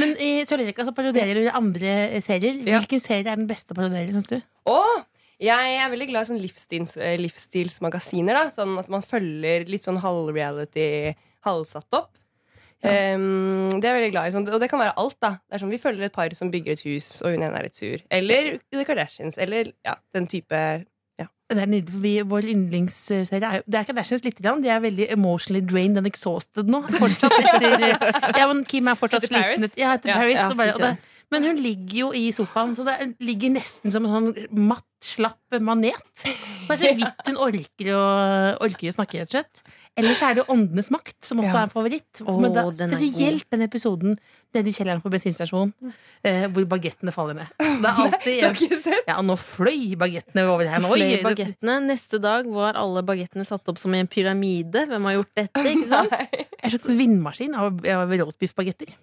S4: Men i Sør-Amerika så parodierer du andre eh, serier.
S6: Ja.
S4: Hvilken serie er den beste parodieren, syns du?
S6: Og jeg er veldig glad i sånn livsstils, eh, livsstilsmagasiner. da Sånn at man følger litt sånn halvreality, halvsatt opp. Ehm, det er jeg veldig glad i sånn, Og det kan være alt. da Det er sånn Vi følger et par som bygger et hus, og hun ene er litt sur. Eller The Kardashians. Eller ja, den type
S4: Det er nydelig, for vi, Vår yndlingsserie er jo Det er Kardashians lite grann. De er veldig emotionally drained and exhausted nå. Fortsatt etter Ja, men Kim er fortsatt
S6: Etter Paris?
S4: sliten. etter- Ja, etter
S6: Ja,
S4: Paris.
S3: ja,
S4: og bare, og
S3: fy søren.
S4: det, men hun ligger jo i sofaen, så det er- ligger nesten som en sånn matt, slapp manet. Det er så vidt hun orker å, orker å snakke, rett og slett. Ellers så er det jo Åndenes makt, som også
S6: Ja.
S4: er en favoritt.
S3: Åh,
S4: men da,
S3: den er
S4: spesielt den episoden nede i kjelleren på bensinstasjonen eh, hvor bagettene faller ned. Det er alltid
S6: Jeg har ikke sett.
S4: Ja, nå fløy bagettene over her. Nå,
S3: Fløy
S4: Oi, det-
S3: bagettene. Neste dag var alle bagettene satt opp som i en pyramide. Hvem har gjort dette? ikke sant?
S4: En slags vindmaskin av, av roastbiffbagetter.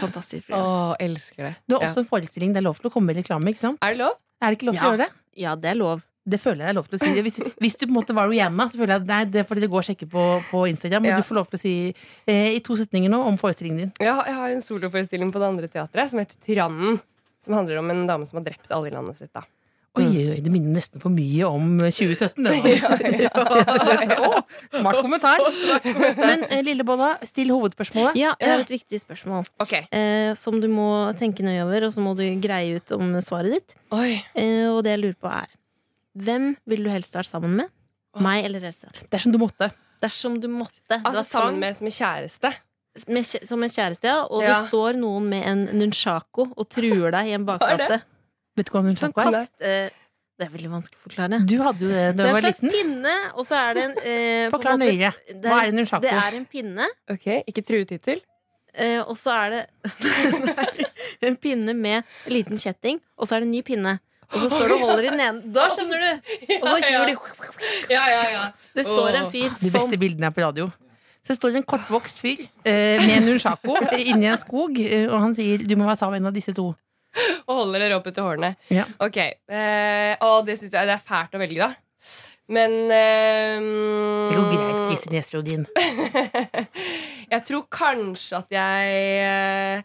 S3: Fantastisk
S6: Å,
S3: program.
S6: elsker det.
S4: Du har
S6: Ja.
S4: også en forestilling det er lov til å komme med reklame. ikke sant?
S6: Er det lov?
S4: Er det ikke lov til
S3: Ja.
S4: å gjøre det?
S3: Ja, det er lov.
S4: Det føler jeg er lov til å si. Hvis, hvis du på en måte var Rihanna, så føler jeg at nei, det får dere gå og sjekke på, på Instagram. Men
S6: Ja.
S4: du får lov til å si eh, i to setninger nå om forestillingen din.
S6: Jeg har, jeg har en soloforestilling på det andre teatret som heter Tyrannen. Som handler om en dame som har drept alle i landet sitt. da
S3: Mm.
S4: Oi, oi, det minner nesten for mye om 2017. Det da. Å, smart kommentar. Men eh, Lillebolla, still hovedspørsmålet.
S3: Ja, jeg har et viktig spørsmål
S6: Ok
S3: eh, som du må tenke nøye over, og så må du greie ut om svaret ditt.
S6: Oi
S3: Eh, og det jeg lurer på, er hvem ville du helst vært sammen med? Meg eller Else?
S4: Dersom du måtte.
S3: Dersom du måtte. Du
S6: Altså
S3: har tvang
S6: sammen med som en kjæreste.
S3: med, kjæ- som en kjæreste, ja, og
S6: Ja.
S3: det står noen med en nunchako og truer deg i en bakgate.
S4: Vet du hva hun
S3: Som
S4: snakka om?
S3: kast, eh, det er veldig vanskelig å forklare.
S4: Du hadde jo
S3: Det
S4: det da du
S3: er en
S4: var
S3: slags
S4: liten.
S3: pinne, og så er det en eh, på en
S4: Forklar
S3: måte-
S4: nøye.
S3: det
S4: Hva er en nunchako?
S3: Det er en pinne,
S6: Ok, Ikke truetittel.
S3: eh, og så er det en pinne med en liten kjetting, og så er det en ny pinne. Og så står det og holder i den ene. Da skjønner du! Og så hiver de
S6: Ja, ja, ja.
S3: Det står en fyr
S4: De
S3: som
S4: beste bildene er på radio. Så står det en eh, kortvokst fyr eh, med en nunchako inni en skog, eh, og han sier 'du må være sammen med en av disse to'.
S6: og holder det råpete hårene.
S4: Ja.
S6: Ok, eh, Og det syns jeg det er fælt å velge, da. Men eh,
S4: Det går greit,
S6: Mm.
S4: Kristin Gjesrud din.
S6: jeg tror kanskje at jeg eh,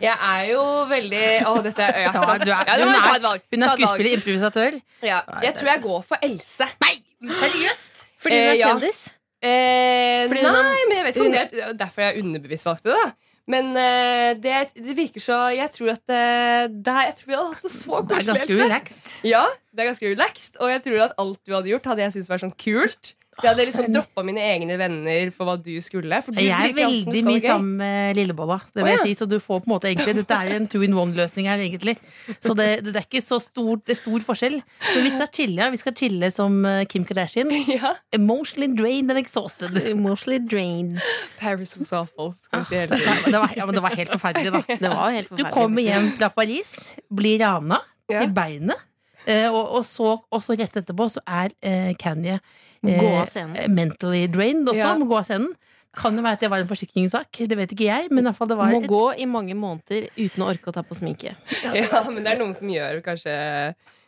S6: Jeg er jo veldig Å, dette er ja,
S4: Ta-
S6: sant.
S4: du er-
S6: Ja, du må
S4: hun
S6: jo ta
S4: er-
S6: et valg.
S4: Hun er
S6: Ta et valg.
S4: skuespiller, improvisatør.
S6: Ja, jeg tror jeg går for Else.
S4: Nei, seriøst!
S3: Fordi du
S6: Eh,
S3: er
S6: ja.
S3: kjendis?
S6: Eh,
S3: Fordi hun
S6: nei, men jeg vet ikke om det er det er derfor jeg underbevisst valgte det. da Men eh, det, det virker så Jeg tror at eh, det, er- Jeg tror vi hadde hatt det så
S4: Det er
S6: koselig.
S4: ganske
S6: Else.
S4: relaxed.
S6: Ja, det er ganske relaxed, og jeg tror at alt du hadde gjort, hadde jeg syntes var sånn kult. Så jeg hadde liksom droppa mine egne venner for hva du skulle. For du
S4: Jeg er
S6: virker alltid som du
S4: veldig
S6: skal
S4: mye
S6: ha gøy.
S4: sammen med Lillebolla. Det vil
S6: Å, ja.
S4: jeg si, så du får på en måte egentlig Dette er en two in one-løsning her, egentlig. Så det, det er ikke så stor, det er stor forskjell. Men vi skal chille. ja. Vi skal chille som eh, Kim Kardashian.
S6: Ja.
S4: Emotionally drained and exhausted.
S3: Emotionally drained.
S6: Paris was awful. Skal vi si hele
S4: Det
S6: tiden.
S4: var, ja, men det var helt forferdelig, da.
S3: Det var jo helt
S4: Du
S3: forferdelig.
S4: kommer hjem fra Paris, blir rana
S6: Ja.
S4: i beinet, eh, og, og, så, og så rett etterpå så er eh, Kanye eh,
S3: Må gå av scenen.
S4: mentally drained også,
S6: Ja.
S4: må gå av scenen. Kan jo være at det var en forsikringssak, det vet ikke jeg, men i hvert fall det var
S3: Må gå i mange måneder uten å orke å ta på sminke.
S6: Ja, men det er noen som gjør kanskje,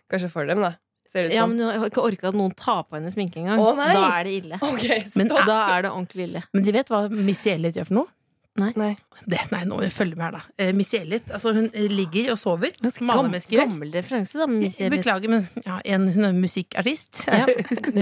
S6: kanskje for dem, da. Ser det ut
S3: Ja,
S6: som.
S3: men Hun har ikke orka at noen tar på henne sminke engang.
S6: Å, nei.
S3: Da er det ille.
S6: Ok,
S4: Men-
S6: stopp.
S3: Da er det ordentlig ille.
S4: Men de vet hva Missy Elliot gjør for noe?
S6: Nei.
S4: Det, nei, nå følg med her, da. Eh, Missy Elliot altså, hun eh, ligger og sover. som alle
S3: Gam-
S4: mennesker gjør.
S3: gammel referanse, da. Men Missy Elliott.
S4: Beklager, men ja, en, hun er musikkartist.
S3: Ja.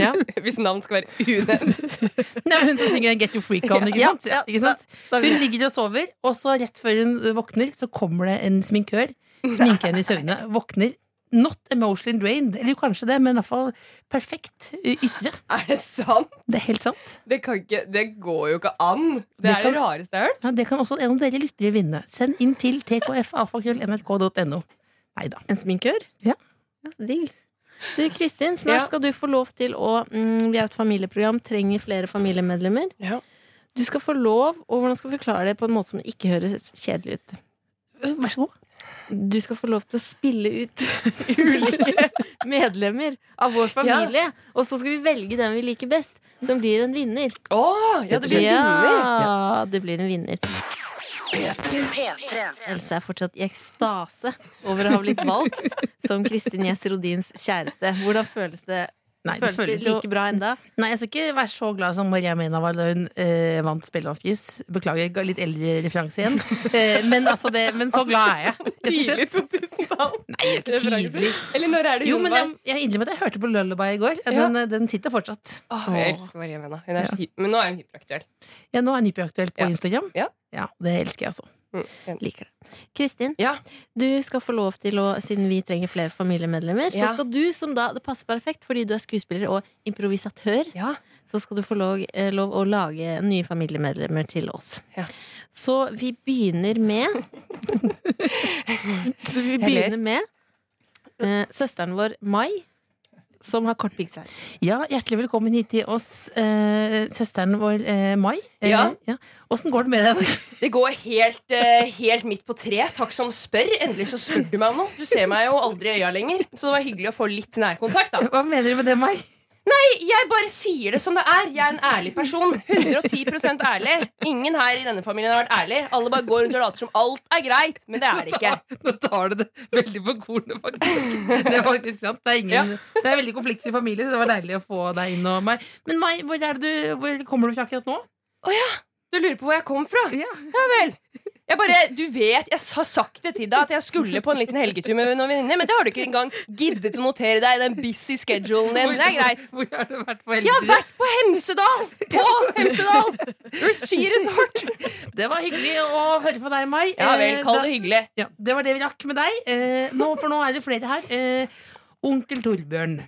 S3: Ja.
S6: Hvis navn skal være unevnt.
S4: Nei, hun som synger 'Get Your Freak On'. Ikke
S3: Ja,
S4: sant? ikke sant? Hun ligger og sover, og så rett før hun våkner, så kommer det en sminkør. Sminker henne i søvne. Våkner not emotionally drained. Eller jo, kanskje det, men i hvert fall perfekt ø, ytre.
S6: Er det sant?
S4: Det er helt sant.
S6: Det, kan ikke, det går jo ikke an. Det
S4: Det
S6: er det
S4: kan-
S6: rareste jeg har hørt.
S4: Ja, det kan også en av dere lyttere vinne. Send inn til tkfalfakrøllmrk.no. Nei da.
S3: En sminkør?
S4: Ja.
S3: ja så digg. Du, Kristin, snart
S6: Ja.
S3: skal du få lov til å mm, Vi er et familieprogram, trenger flere familiemedlemmer.
S6: Ja.
S3: Du skal få lov, og hvordan skal vi forklare det på en måte som ikke høres kjedelig ut?
S4: Ø, Vær så god.
S3: Du skal få lov til å spille ut ulike medlemmer av vår familie. Og så skal vi velge den vi liker best, som blir en vinner.
S6: Å, ja, det blir en vinner.
S3: Ja, det blir en vinner. Else er fortsatt i ekstase over å ha blitt valgt som Kristin Gjess Rodins kjæreste. Hvordan føles det?
S4: Nei,
S3: Føles det
S4: jo-
S3: like bra enda?
S4: Nei, jeg skal ikke være så glad som Maria Mena var da hun eh, vant Spellemannspris. Beklager, ga litt eldre referanse igjen. Eh, men, altså det, men så glad er jeg. rett og slett.
S6: Tidlig 2000-tall.
S4: Nei, det er ikke tidlig.
S6: Eller når er det hun
S4: Jo, men
S6: var?
S4: jeg, jeg innrømmer at jeg hørte på Lullaby i går.
S6: Ja.
S4: Den, eh, den sitter fortsatt.
S3: Ah.
S6: Åh, jeg elsker Maria Mena. Hun er så hy- Men nå er hun hyperaktuell.
S4: Ja, nå er den hyperaktuell på
S6: Ja.
S4: Instagram.
S6: Ja.
S4: Det elsker jeg også.
S6: Mm.
S3: Liker det. Kristin,
S6: Ja.
S3: du skal få lov til å, siden vi trenger flere familiemedlemmer, så
S6: Ja.
S3: skal du, som da det passer perfekt fordi du er skuespiller og improvisatør,
S6: Ja.
S3: så skal du få lov, eh, lov å lage nye familiemedlemmer til oss.
S6: Ja.
S3: Så vi begynner med Så vi
S6: ler.
S3: begynner med eh, søsteren vår Mai, som har kort piggsveis.
S4: Ja, Hjertelig velkommen hit til oss, eh, søsteren vår eh, Mai. Eh,
S6: Ja.
S4: Åssen går det med deg?
S6: Det går helt, eh, helt midt på tre. Takk som spør. Endelig så spør du meg om noe. Du ser meg jo aldri i øya lenger. Så det var hyggelig å få litt nærkontakt, da.
S4: Hva mener du med det, Mai?
S6: Jeg bare sier det som det er. Jeg er en ærlig person. 110 ærlig. Ingen her i denne familien har vært ærlig. Alle bare går rundt og later som alt er greit. Men det er det ikke.
S4: Nå tar du det veldig på kornet, faktisk. Det er faktisk sant. Det er, ingen, det er en veldig konfliktsky familie, så det var deilig å få deg inn. Og, Mai. Men Mai, hvor, er det du, hvor kommer du fra akkurat nå?
S6: Du lurer på hvor jeg kom fra?
S4: Ja.
S6: vel. Jeg bare, du vet, jeg har sagt det til deg at jeg skulle på en liten helgetur med noen venninner, men det har du ikke engang giddet å notere deg i den busy schedulen din. Det er greit.
S4: Hvor har du vært på
S6: Jeg har
S4: eldre?
S6: vært på Hemsedal! På Hemsedal! Skiresort.
S4: Det var hyggelig å høre fra deg, Mai.
S6: Ja vel,
S4: Eh,
S6: kall
S4: da-
S6: det hyggelig.
S4: Ja, det var det vi rakk med deg. Eh, nå, for nå er det flere her. Eh, onkel Torbjørn.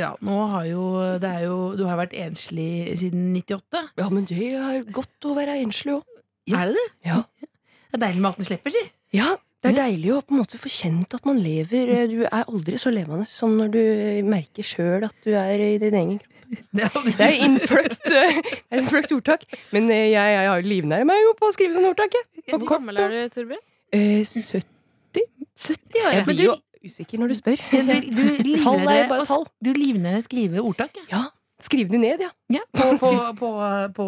S4: Ja, nå har jo, det er jo Du har vært enslig siden 98.
S6: Ja, men det er godt å være enslig òg.
S4: Er det det?
S6: Ja.
S4: Det er deilig med at den slipper, si.
S6: Ja, det er deilig å på en måte få kjent at man lever. eh, Du er aldri så levende som når du eh, merker sjøl at du er i din egen kropp.
S4: Det er aldri-
S6: Det er innfløkt, eh, det er innfløkt ordtak. Men eh, jeg, jeg har livnærer meg jo på å skrive sånn ordtak. Jeg. På
S3: Hvor
S6: kort.
S3: gammel er du, Torbjørn?
S6: Eh, 70 70 år.
S4: ja.
S6: Jeg
S4: Men
S6: blir
S4: du-
S6: jo usikker når du spør.
S4: Du, du livnærer
S6: Tall er jo bare
S4: å s-
S6: tall.
S4: Du livnærer å skrive ordtak. ja.
S6: Ja, Skriv det ned, ja.
S4: På, på, på, på,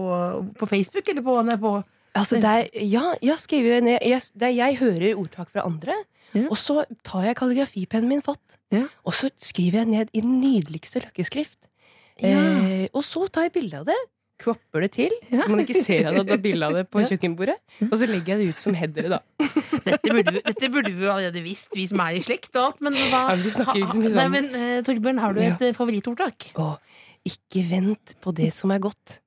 S4: på Facebook, eller på, nei, på
S6: Altså, det er, ja, ja skriv det ned. Jeg, det er, jeg hører ordtak fra andre,
S4: Ja.
S6: Og så tar jeg kalligrafipennen min fatt,
S4: Ja.
S6: og så skriver jeg ned i den nydeligste løkkeskrift. Eh, og så tar jeg bilde av det, cropper det til,
S4: Ja.
S6: så man ikke ser at jeg tar bilde av det på
S4: Ja.
S6: kjøkkenbordet. Og så legger jeg det ut som headere, da.
S4: Dette burde, vi- dette burde vi jo allerede visst, vi som er i slekt og alt. Men hva
S6: Ja, vi snakker jo ikke så mye
S4: Nei,
S6: sammen.
S4: men eh, Torbjørn, har du et eh, favorittordtak?
S6: Å, ikke vent på det som er godt.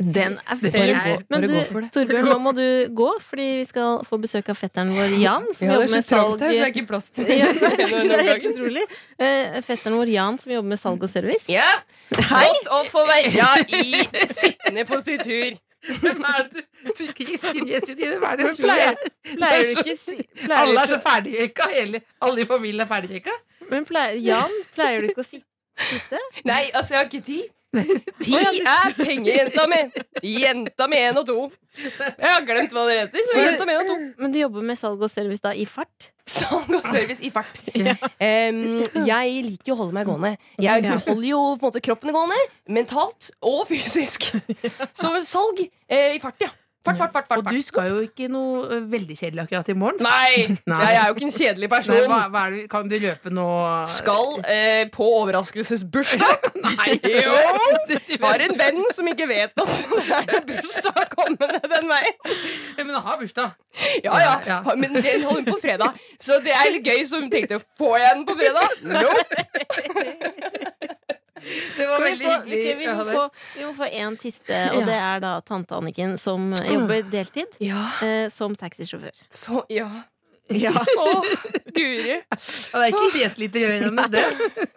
S3: Den er
S4: Det
S6: Bare
S4: er-
S6: gå,
S3: fin. Men
S6: bare
S3: du,
S6: gå for det.
S3: Torbjørn, nå må du gå, fordi vi skal få besøk av fetteren vår Jan. Som
S6: Ja, det
S3: jobber
S6: er så
S3: med
S6: trangt
S3: salg
S6: her, så det er ikke plass til
S3: Ja, det
S6: denne
S3: er helt
S6: gangen.
S3: utrolig. Eh, fetteren vår Jan, som jobber med salg og service.
S6: Ja, godt å få være i sittende positur.
S4: Hvem er det du- Kristin Jesidine, hva er det
S3: Men
S4: du tror jeg er?
S3: Pleier du ikke si pleier du
S4: Alle er
S3: ikke,
S4: så ferdigrøyka. hele- Alle i familien er ferdigrøyka.
S3: Men pleier, Jan, pleier du ikke å si
S6: Nei, altså, jeg har ikke tid.
S3: Å, ja, du-
S6: Tid er pengejenta mi. Jenta med én og to. Jeg har glemt hva det heter. Så jenta med en og to.
S3: Men du jobber med salg og service da i fart?
S6: Salg og service i fart. Em, jeg liker jo å holde meg gående. Jeg holder jo på en måte kroppen gående, mentalt og fysisk. Så salg eh, i fart, ja. Fart, fart, fart. fart,
S4: Og du
S6: fart.
S4: skal jo ikke noe eh, veldig kjedelig akkurat i morgen.
S6: Nei,
S4: Nei. sånn.
S6: jeg er jo ikke en kjedelig
S4: Nei,
S6: person.
S4: hva, hva er det, kan du løpe noe
S6: Skal eh, på overraskelsesbursdag.
S4: Nei!
S6: Jo! Har en venn som ikke vet at det er bursdag kommende den veien.
S4: Ja, Men ha bursdag.
S6: Ja, ja,
S4: Ja, ja.
S6: Men den holder på fredag, så det er litt gøy. Så hun tenkte får jeg den på fredag? Nope.
S4: Det var
S3: Kan vi
S4: veldig
S3: få-
S4: hyggelig.
S3: ok, vi,
S4: å ha
S3: må
S4: deg.
S3: få, vi må få en siste, og
S4: Ja.
S3: det er da tante Anniken, som jobber deltid
S6: Ja,
S3: eh, som taxisjåfør.
S6: så, ja.
S4: ja.
S6: Å, Guri.
S4: Ja, Det er ikke helt lite rørende, det.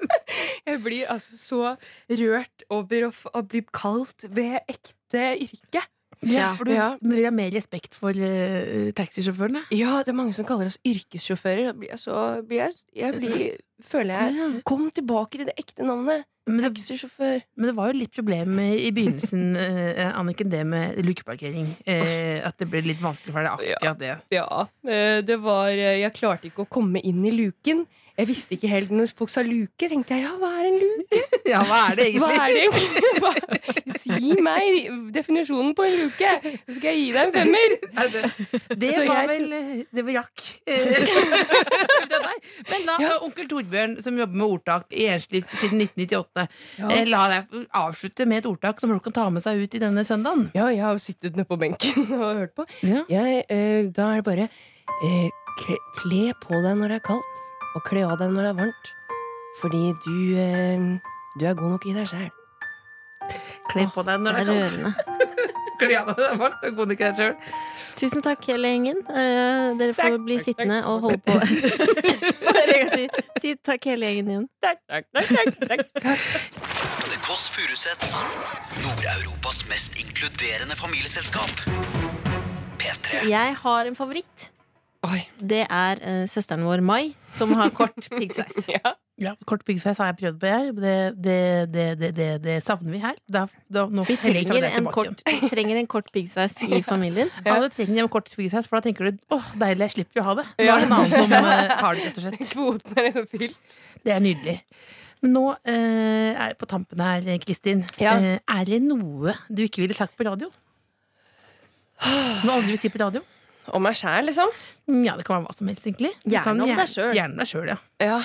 S6: Jeg blir altså så rørt over å, f- å bli kalt ved ekte yrke.
S4: Ja, for du,
S6: Ja.
S4: Men vi har mer respekt for eh, taxisjåførene.
S6: Ja, det er mange som kaller oss yrkessjåfører. Da blir jeg så blir jeg, jeg blir, føler jeg Kom tilbake til det ekte navnet.
S4: Men det,
S6: Taxisjåfør.
S4: men det var jo litt problem i begynnelsen, eh, Anniken, det med lukeparkering. Eh, at det ble litt vanskelig for deg akkurat det.
S6: Ja. eh, Det var eh, Jeg klarte ikke å komme inn i luken. Jeg visste ikke helt Når folk sa luke, tenkte jeg ja, hva er en luke?
S4: Ja, hva er det
S6: Hva
S4: egentlig?
S6: er det egentlig? Hva- Si meg definisjonen på en luke, så skal jeg gi deg en femmer.
S4: Er det? Det
S6: Så
S4: var
S6: jeg
S4: vel eh, Det var jakk. Det er deg. Men da, eh, onkel Torbjørn, som jobber med ordtak i Enslig siden 1998, eh, la deg avslutte med et ordtak som folk kan ta med seg ut i denne søndagen.
S6: Ja, jeg har jo sittet nede på benken og hørt på.
S4: Ja.
S6: Jeg, eh, da er det bare eh, kle, kle på deg når det er kaldt, og kle av deg når det er varmt. Fordi du, eh, du er god nok i deg sjæl.
S4: Kle på deg når det er kaldt.
S3: rørende.
S4: Kle av deg når det er varmt. God nok i deg sjøl.
S3: Tusen takk, hele gjengen. Eh, dere får bli sittende og holde på. Bare en gang til. Si takk, hele gjengen igjen.
S2: The Kåss Furuseths. Nord-Europas mest inkluderende familieselskap. P3.
S3: Jeg har en favoritt.
S6: Oi.
S3: Det er eh, søsteren vår Mai, som har kort piggsveis.
S4: Ja, kort byggsveis har jeg prøvd på, jeg. Det, det, det, det, det, det savner vi her. Da, da, nå
S3: Vi
S4: heller
S3: trenger
S4: savner jeg
S3: en
S4: tilbake
S3: kort,
S4: igjen.
S3: vi trenger en kort piggsveis i familien.
S6: Ja.
S4: Alle trenger en kort byggsveis, for da tenker du åh, deilig, jeg slipper jo å ha det. Nå
S6: Ja.
S4: er det en annen som eh, har det, rett og slett.
S6: Kvoten er liksom fylt.
S4: Det er nydelig. Men nå eh, er på tampen her, Kristin.
S6: Ja.
S4: Eh, er det noe du ikke ville sagt på radio? Noe aldri vil si på radio?
S6: Om meg sjæl, liksom?
S4: Ja, det kan være hva som helst, egentlig. Du
S3: Gjerne
S4: kan
S3: om
S4: gjer-
S3: deg selv.
S4: Gjerne deg sjøl, ja.
S6: Ja.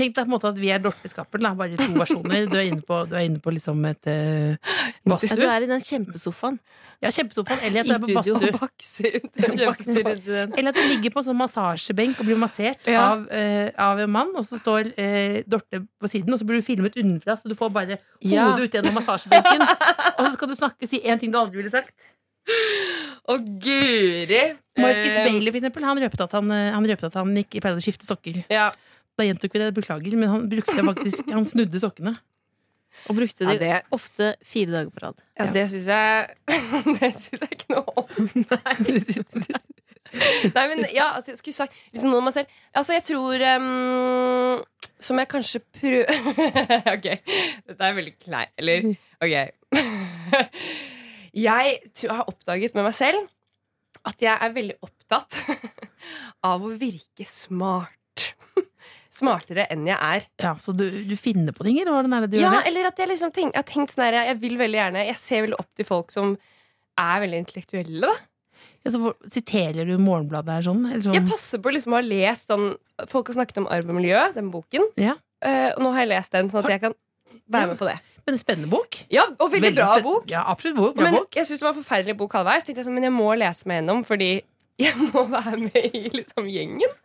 S4: Tenk deg på en måte at vi er Dorte-skapperen, da. Bare to versjoner. Du er inne på, du er inne på liksom et uh,
S3: Ja,
S4: badstue.
S3: du er i den kjempesofaen.
S4: Ja, kjempesofaen. Eller at
S3: I
S4: du er på
S3: studio.
S4: badstue.
S6: Bakser ut.
S3: Bakser rundt i den.
S4: Eller at du ligger på en sånn massasjebenk og blir massert
S6: Ja.
S4: av, eh, av en mann, og så står eh, Dorte på siden, og så blir du filmet unnenfra, så du får bare hodet
S3: Ja.
S4: ut gjennom massasjebenken. og så skal du snakke, si én ting du aldri ville sagt.
S6: Å, guri!
S4: Marcus
S6: Eh,
S4: Bailey, for eksempel, han røpet at han, eh, han, røpet at han ikke pleide å skifte sokker.
S6: Ja.
S4: Da gjentok vi det, beklager, men han brukte faktisk Han snudde sokkene.
S3: Og brukte
S6: Ja,
S3: det
S6: det,
S3: ofte fire dager på rad.
S6: ja, det syns jeg Det syns jeg ikke noe om. Nei, men ja, altså, jeg skulle sagt liksom noe om meg selv. Altså, jeg tror ehm, Som jeg kanskje prøver Ok, dette er veldig klei... Eller, ok. jeg tror, har oppdaget med meg selv at jeg er veldig opptatt av å virke smart. Smartere enn jeg er.
S4: ja, så du, du finner på ting, eller hvordan er det du
S6: ja,
S4: gjør det?
S6: eller at jeg liksom tenk, jeg har tenkt sånn her Jeg vil veldig gjerne Jeg ser veldig opp til folk som er veldig intellektuelle, da.
S4: Ja, så hvor- siterer du Morgenbladet her sånn? Eller sånn?
S6: Jeg passer på liksom å ha lest sånn Folk har snakket om arv og miljø, den boken.
S4: Ja.
S6: Eh, og nå har jeg lest den, sånn at jeg kan
S4: Ja.
S6: være med på det.
S4: Men en spennende bok.
S6: Ja, Og veldig, bra
S4: spenn-
S6: bok.
S4: Ja, absolutt bok, bra
S6: Men
S4: bok.
S6: jeg syns det var en forferdelig bok halvveis. Tenkte jeg sånn, Men jeg må lese meg gjennom, fordi jeg må være med i liksom gjengen.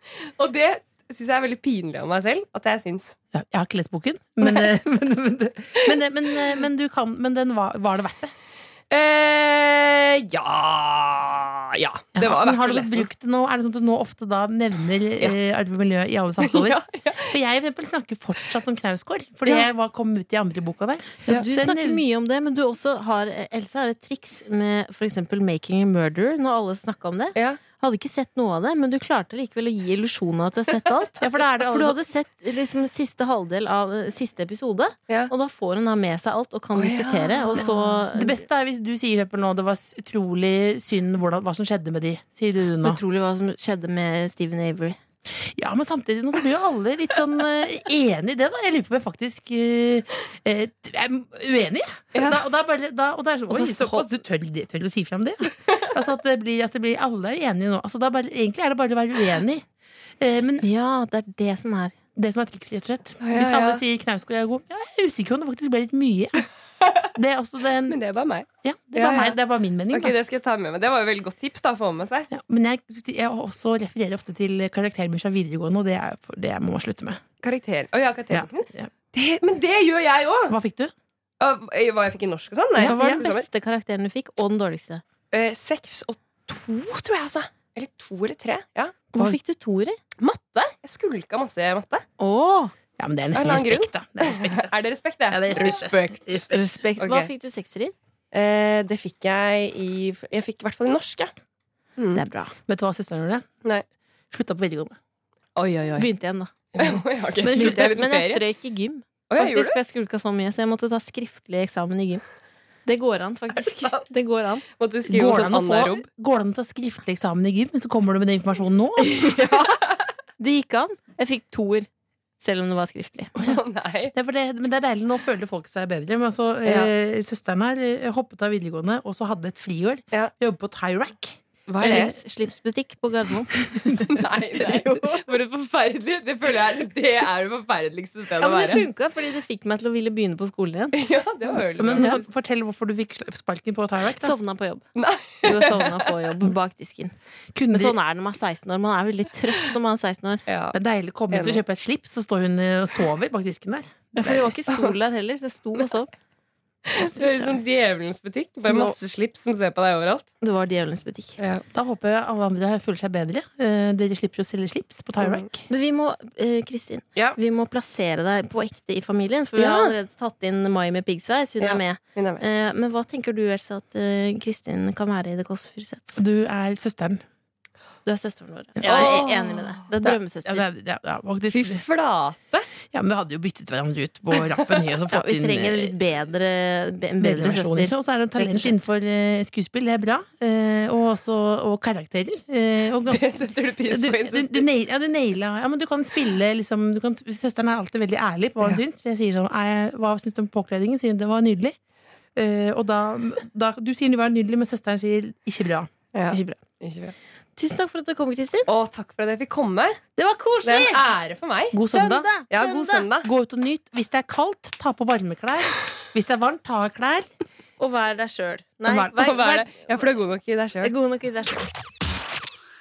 S6: Og det syns jeg er veldig pinlig av meg selv. At jeg syns
S4: Ja, jeg har ikke lest boken, men, eh, men, men, men, men, eh, men, du kan, men den var, var det verdt det.
S6: eh, Ja Ja. Det var
S4: men
S6: verdt
S4: har du
S6: å
S4: fått
S6: lese. den.
S4: brukt det nå? Er det sånn at du nå ofte da nevner
S6: Ja.
S4: eh, arv og miljø i alle samtaler?
S6: Ja, ja.
S4: For jeg for eksempel, snakker fortsatt om Knausgård, fordi
S6: Ja.
S4: jeg var, kom ut i andre boka der.
S6: Ja.
S3: Du
S4: Så jeg
S3: snakker
S4: nevner-
S3: mye om det, men du også har, Elsa har et triks med f.eks. 'Making a Murderer', når alle snakka om det.
S6: Ja.
S3: Hadde ikke sett noe av det, men du klarte likevel å gi illusjonen av at du har sett alt.
S4: Ja, for da er det
S3: For du
S4: alle-
S3: hadde sett liksom, siste halvdel av eh, siste episode,
S6: Ja.
S3: og da får hun da med seg alt og kan
S6: Å, ja.
S3: diskutere. Og så
S4: Det beste er hvis du sier Høppel, nå det var s- utrolig synd hvordan, hva som skjedde med de. Sier du nå.
S3: utrolig hva som skjedde med Steven Avery.
S4: Ja, men samtidig nå så blir jo alle litt sånn eh, enig i det, da. Jeg lurer på om jeg faktisk eh, eh, t- er uenig.
S6: Ja.
S4: Da, og, da bare, da, og da er det sånn
S3: Og
S4: Oi,
S3: da så-
S4: såpass. Du tør, det- tør å si fram det? altså at det blir, at det blir Alle er enige nå. Altså, da bare, egentlig er det bare å være uenig. Eh, men
S3: Ja, det er det som er.
S4: det som er trikset, rett og slett.
S6: Ja,
S4: Hvis alle
S6: ja.
S4: sier Knausgård er god, ja, jeg er usikker på om det faktisk ble litt mye. Det er også den
S6: Men det var meg.
S4: Ja, det
S6: Ja,
S4: var,
S6: ja.
S4: Meg, det var min mening,
S6: Ok,
S4: da.
S6: Det skal jeg ta med meg. Det var jo veldig godt tips da, å få med seg.
S4: Ja, men jeg, jeg også refererer ofte til karakterene fra videregående, og det, er, for- det må man slutte med.
S6: Karakteren. Å, ja,
S4: Ja.
S6: karakteren.
S4: Ja.
S6: Det, men det gjør jeg òg!
S4: Hva fikk du?
S6: Hva jeg fikk i norsk og sånn? Nei,
S3: Hva var
S6: jeg
S3: den
S6: fikk sammen.
S3: beste karakteren du fikk, og den dårligste?
S6: Eh, Seks og to, tror jeg, altså. Eller to eller tre. Ja.
S3: Hva
S4: Oi.
S3: fikk du toer i?
S6: Matte. Jeg skulka masse matte.
S3: Åh,
S4: Ja, men det er
S6: Av en
S4: nesten
S6: eller annen
S4: respekt, da. Det er respekt.
S6: Er det respekt, det?
S4: Ja, det er respekt.
S3: respekt.
S6: Ok.
S3: Hva fikk du sekser i?
S6: Eh, det fikk jeg i Jeg fikk i hvert fall i norsk, ja. Mm.
S3: Det er bra.
S4: Vet du hva søsteren gjorde?
S6: Nei.
S4: Slutta på videregående.
S6: Oi, oi, oi.
S3: Begynte igjen, da.
S6: Ok,
S3: Men,
S6: sluttet jeg
S3: men
S6: litt med
S3: jeg
S6: ferie?
S3: strøyk i gym.
S6: Å, jeg
S3: Faktisk,
S6: gjorde det.
S3: for jeg skulka så mye, så jeg måtte ta skriftlig eksamen i gym. Det går an, faktisk.
S6: Er det sant?
S3: Det går an.
S6: Måtte skrive
S4: Går det, an
S6: sånn
S4: å få,
S6: anaerob.
S4: går det an å ta skriftlig eksamen i gym, så kommer du med den informasjonen nå?
S3: Det gikk an. Jeg fikk toer, selv om det var skriftlig.
S6: Å, nei.
S4: Det er for det, men det er deilig, nå føler folk seg bedre. Men altså,
S6: Ja.
S4: eh, søsteren her eh, hoppet av videregående, og så hadde et friår.
S6: Ja.
S4: Jobbet på Tyrac.
S6: Hva er det?
S3: Slips, slipsbutikk på Gardermoen.
S6: Nei, det er jo For et forferdelig Det føler jeg er- det er det forferdeligste stedet
S3: Ja,
S6: å
S3: men det
S6: være.
S3: funka, fordi det fikk meg til å ville begynne på skolen igjen.
S6: Ja, det var veldig
S4: Men
S6: bra.
S4: kan- fortell hvorfor du fikk sl- sparken på Tyrac. da.
S3: Sovna på jobb.
S6: Nei.
S3: Jo, sovna på jobb bak disken.
S4: Kunne
S3: Men
S4: de-
S3: sånn er det når man er 16 år. Man er veldig trøtt når man er 16 år.
S6: Ja.
S4: Det er deilig å komme ut og
S6: Enig.
S4: kjøpe et slips, så står hun eh, og sover bak disken der.
S3: For det var ikke stol der heller. Det sto og sov.
S6: Det høres ut som Djevelens butikk. Bare masse slips som ser på deg overalt.
S3: Det var Djevelens butikk.
S4: Da håper jeg alle andre her føler seg bedre. Eh, Dere slipper å selge slips på Tyrac.
S3: Men vi må, eh, Kristin,
S6: Ja.
S3: vi må plassere deg på ekte i familien. For vi
S4: Ja.
S3: har allerede tatt inn Mai med piggsveis. Hun
S6: Ja.
S3: er med.
S6: Hun er med.
S3: Eh, men hva tenker du, Elsa, at eh, Kristin kan være i The Kåss Furuseths?
S4: Du er søsteren.
S3: Du er søsteren vår. Ja, jeg er enig med deg. Det er
S4: Ja,
S3: drømmesøster.
S4: det er, ja, ja,
S6: Fy
S4: faktisk.
S6: flate!
S4: ja, men vi hadde jo byttet hverandre ut på rappen. og så
S3: Ja,
S4: fått
S3: vi
S4: inn,
S3: trenger en
S4: eh,
S3: litt bedre, be- en bedre
S4: versjon,
S3: søster.
S4: liksom. Og så er det
S3: Rett og
S4: talent
S3: slett.
S4: innenfor eh, skuespill, det er bra. Eh, og, også, og karakterer. Eh, og ganske
S6: Det setter du pris
S4: du,
S6: på.
S4: du, du, nail, ja, du naila ja, men du kan spille liksom du kan, Søsteren er alltid veldig ærlig på hva hun syns. For jeg sier sånn «Nei, Hva syns du om påkledningen? Sier hun det var nydelig. Eh, og da, da Du sier det var nydelig, men søsteren sier ikke bra.
S6: ja.
S4: Ikke bra.
S6: Ikke bra.
S3: Tusen takk for at du kom, Kristin.
S6: Å, takk for at jeg fikk komme.
S3: Det var
S6: Det er
S3: koselig!
S6: en ære for meg.
S4: eh, God søndag.
S6: Ja, god søndag.
S4: Gå ut og nyt. Hvis det er kaldt, ta på varme klær. Hvis det er varmt, ta av klær.
S3: Og vær deg sjøl. Nei,
S4: Vær-
S3: vær,
S6: Hva
S3: vær,
S6: er det? Ja, for du er god nok i deg
S3: er
S6: sjøl.
S3: god nok i deg sjøl.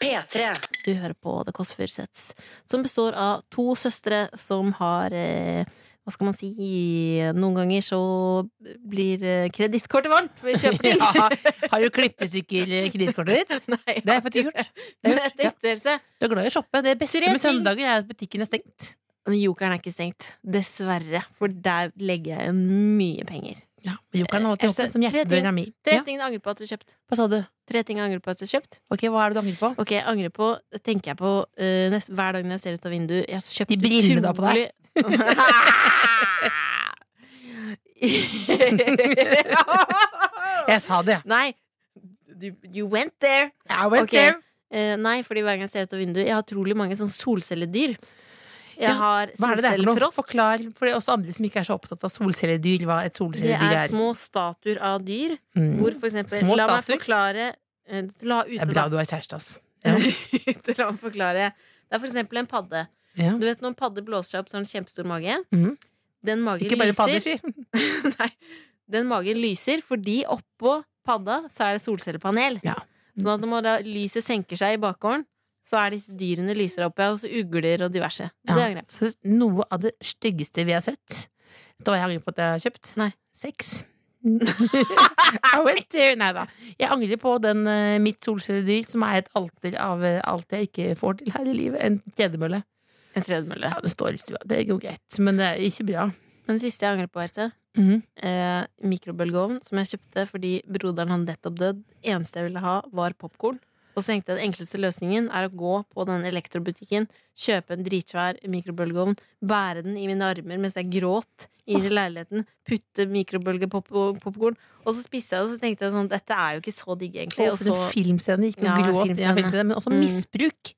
S5: P3.
S3: Du hører på The Kåss Furuseths, som består av to søstre som har eh, hva skal man si Noen ganger så blir eh, kredittkortet varmt. Vi kjøper til.
S4: Ja, har du klippet i stykker kredittkortet ditt?
S3: Nei,
S4: Det har jeg fått gjort. Det
S3: Men
S4: har jeg
S3: jeg
S4: gjort.
S3: tenkte,
S4: Ja.
S3: Else,
S4: Du er glad i å shoppe. Det beste
S3: Tre
S4: med
S3: ting.
S4: søndager er at butikken er stengt.
S3: Men Jokeren er ikke stengt. Dessverre. For der legger jeg igjen mye penger.
S4: Ja, Jokeren er alltid
S3: Else,
S4: åpen som
S3: tre ting.
S4: hjertedøra mi.
S3: Tre
S4: Ja,
S3: ting jeg angrer på at du kjøpt.
S4: hva sa du?
S3: Tre ting jeg angrer på at du kjøpt.
S4: Ok, Hva er det du angrer på?
S3: Ok, jeg angrer på Tenker jeg på eh, nest, hver dag når jeg ser ut av vinduet Jeg har kjøpt
S4: De brillene da på deg.
S3: utrolig-
S4: Jeg sa det,
S3: Nei. Du, you went there.
S4: jeg.
S3: went there. Eh, nei, fordi hver gang jeg ser ut av vinduet Jeg har utrolig mange sånn solcelledyr. Jeg
S4: Ja,
S3: har
S4: Hva er det det er for noe?
S3: solcellefrost.
S4: Forklar for det er også andre som ikke er så opptatt av solcelledyr, hva et
S3: Det
S4: solcelledyr
S3: er
S4: er.
S3: små statuer av dyr.
S4: Mm.
S3: Hvor for eksempel,
S4: Små
S3: la meg
S4: statuer?
S3: forklare eh, La
S4: Det
S3: ute,
S4: er
S3: da.
S4: bra du har kjæreste, ass. Ja.
S3: Ute, La meg forklare. Det er for eksempel en padde.
S4: Ja.
S3: Du vet når en padde blåser seg opp, så har den kjempestor mage.
S4: Mhm.
S3: Den magen
S4: Ikke bare
S3: lyser.
S4: padderski.
S3: Nei, den magen lyser fordi oppå padda så er det solcellepanel.
S4: Ja.
S3: Sånn at når da lyset senker seg i bakgården, så er disse dyrene lyser oppe, og så ugler og diverse. Så det er
S4: Ja.
S3: greit.
S4: Så noe av det styggeste vi har sett Vet du hva jeg angrer på at jeg har kjøpt?
S3: Nei.
S4: Sex. I went to Nei da. Jeg angrer på den eh, mitt solcelledyr, som er et alter av eh, alt jeg ikke får til her i livet. En tredemølle.
S3: En tredemølle.
S4: Ja, det står i stua. Det går greit, men det er ikke bra.
S3: Men det siste jeg angrer på, Erte,
S4: Mhm.
S3: eh, mikrobølgeovn som jeg kjøpte fordi broderen han nettopp død. Eneste jeg ville ha, var popkorn. Og så tenkte jeg den enkleste løsningen er å gå på den elektrobutikken, kjøpe en dritsvær mikrobølgeovn, bære den i mine armer mens jeg gråt inn i leiligheten, putte mikrobølgepopkorn, og så spiste jeg det, og så tenkte jeg sånn Dette er jo ikke så digg, egentlig.
S4: Og
S3: Og
S4: for
S3: så
S4: en filmscene. Ikke
S3: Ja,
S4: noe gråt, ja,
S3: filmscene.
S4: filmscene, men også
S3: Mm.
S4: misbruk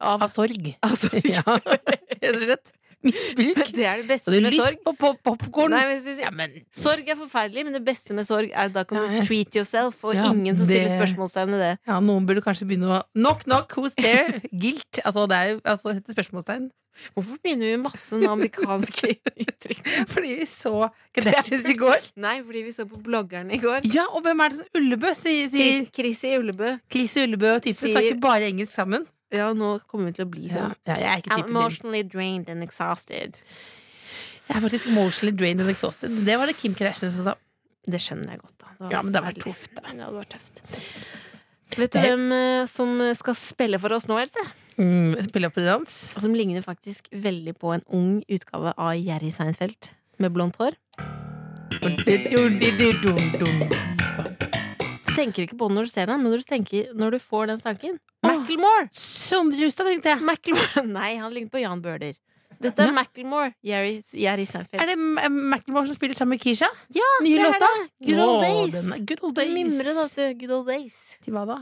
S4: av, sorg. Av sorg. Ja, rett og slett. Misbruk.
S3: Det er det
S4: Og
S3: beste
S4: det er
S3: med
S4: lyst
S3: sorg.
S4: på pop popkorn.
S3: Nei, men jeg synes-
S4: Ja, men
S3: Sorg er forferdelig, men det beste med sorg er at da kan
S4: Ja,
S3: du
S4: jeg-
S3: treat yourself, og
S4: Ja,
S3: ingen som stiller
S4: det-
S3: spørsmålstegn ved det.
S4: Ja, noen burde kanskje begynne å Knock, knock, who's there? Guilt. Altså, det er jo altså, dette er spørsmålstegn.
S3: Hvorfor begynner vi med masse sånne amerikanske uttrykk?
S4: Fordi vi så Kardashians i går.
S3: Nei, fordi vi så på bloggerne i går.
S4: Ja, og hvem er det som Ullebø sier? sier
S3: Chris- Chrissy Ullebø.
S4: Chris Ullebø og typen
S3: Sier-
S4: snakker bare engelsk sammen.
S3: Ja, nå kommer vi til å bli
S4: Ja,
S3: sånn.
S4: ja, jeg er ikke
S3: I'm
S4: typen din.
S3: emotionally drained and exhausted.
S4: Jeg er faktisk emotionally drained and exhausted. Det var det Kim Kardashian som sa.
S3: Det skjønner jeg godt, da. var
S4: Ja, men det var
S3: forferdelig.
S4: tøft, da.
S3: Ja, det var tøft. Vet du
S4: Det-
S3: hvem eh, som skal spille for oss nå, Else?
S4: Mm, spiller opp til dans.
S3: Og som ligner faktisk veldig på en ung utgave av Jerry Seinfeld med blondt hår. Du tenker ikke på den når du ser den, men når du, tenker, når du får den tanken Macklemore!
S4: Sondre Justad, tenkte jeg.
S3: Macklemore Nei, han ligner på Jan Bøhler. Dette er
S4: Ja.
S3: Macklemore. Jerry, Jerry Seinfeld.
S4: Er det M- Macklemore som spiller sammen med Kisha? Ja, Nye
S3: det er
S4: låta?
S3: det. Good old
S4: Å,
S3: days.
S4: den er Good old
S3: Du
S4: days.
S3: mimrer da til good old days.
S4: Til hva da?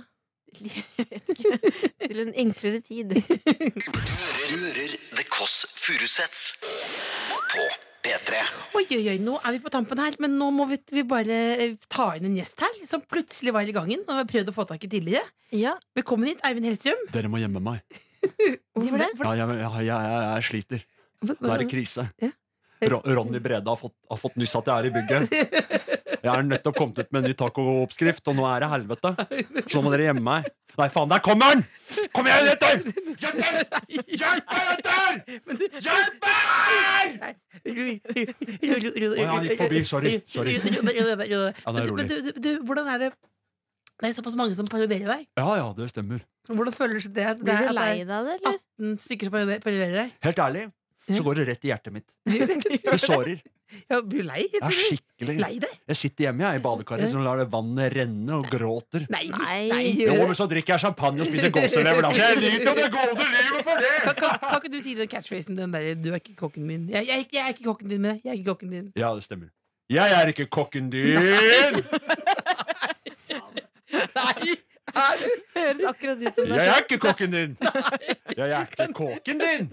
S3: Jeg vet ikke. Til en enklere tid.
S2: Du hører, du hører The Kåss Furuseths på P3.
S4: Oi, oi, oi, nå er vi på tampen her, men nå må vi, vi bare eh, ta inn en gjest her, som plutselig var i gangen og vi har prøvd å få tak i tidligere.
S3: Ja,
S4: Velkommen hit, Eivind Hellstrøm.
S7: Dere må gjemme meg.
S3: hvorfor det?
S7: Ja, jeg, jeg, jeg, jeg, jeg sliter. Det er krise.
S4: Ja.
S7: Ro- Ronny Brede har fått, har fått nyss at jeg er i bygget. Jeg er nettopp kommet ut med en ny tacooppskrift, og nå er det helvete. Så nå må dere gjemme meg. Nei, faen, der kommer han! Kom igjen, jenter! Hjelp meg! Hjelp meg, jenter! Hjelp meg! ja, han gikk forbi. Sorry, sorry. Ja, det er rolig.
S4: Men du, du, du, hvordan er det Det er såpass mange som parodierer deg.
S7: Ja, ja, det stemmer.
S4: Hvordan føler du det? det
S3: Blir
S4: er-
S3: du
S4: at
S3: lei
S4: det er
S3: deg av det, eller?
S4: 18 stykker som parodierer- parodierer deg.
S7: Helt ærlig, så går det rett i hjertet mitt.
S4: Blir du-
S7: Det sårer.
S4: Ja, blir du lei?
S7: Jeg er skikkelig
S4: Lei deg?
S7: Jeg sitter hjemme jeg, i badekaret og lar det vannet renne og gråter.
S4: Nei.
S3: Nei.
S7: Jo,
S4: gjør det.
S7: men så drikker jeg champagne og spiser gåselever, da. Så jeg nyter det gode livet for det!
S4: Kan, kan ikke du si den catchphrasen? Den der, 'du er ikke kokken min'. Jeg, jeg, er ikke- jeg er ikke kokken din, men jeg- jeg er ikke kokken din.
S7: Ja, det stemmer. Jeg er ikke kokken din!
S4: Nei! Er du?
S3: Høres akkurat ut som det.
S7: Jeg er ikke kokken din! Jeg er ikke kåken din!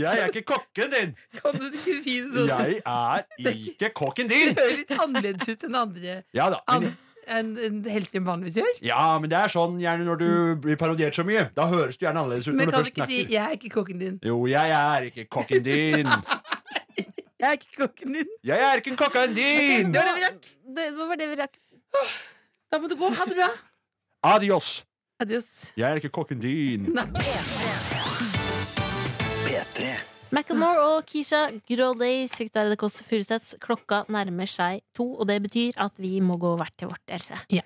S7: Jeg er ikke kokken din!
S4: Kan du ikke si det sånn?
S7: Jeg er ikke kokken
S4: Det
S7: din!
S4: høres litt annerledes ut enn andre
S7: Ja da. Men,
S4: an- enn enn Hellstrøm vanligvis gjør.
S7: ja, men det er sånn gjerne når du blir parodiert så mye. Da høres du gjerne annerledes ut.
S4: Men
S7: når du
S4: kan du
S7: først
S4: ikke si
S7: snakker.
S4: 'jeg er ikke kokken din'?
S7: Jo, jeg er ikke kokken din!
S4: Jeg er ikke kokken din.
S7: Jeg er ikke kokken din!
S4: Det var det vi rakk.
S3: Det, hva var det vi rakk?
S4: Da må du gå. Ha det bra.
S7: Adios!
S4: Adios.
S7: Jeg er ikke kokken din.
S2: P3.
S3: Macklemore og Keisha, Grow Days, fikk du her i Det Kåss Furuseths. Klokka nærmer seg to, og det betyr at vi må gå hvert til vårt, Else.
S4: Ja.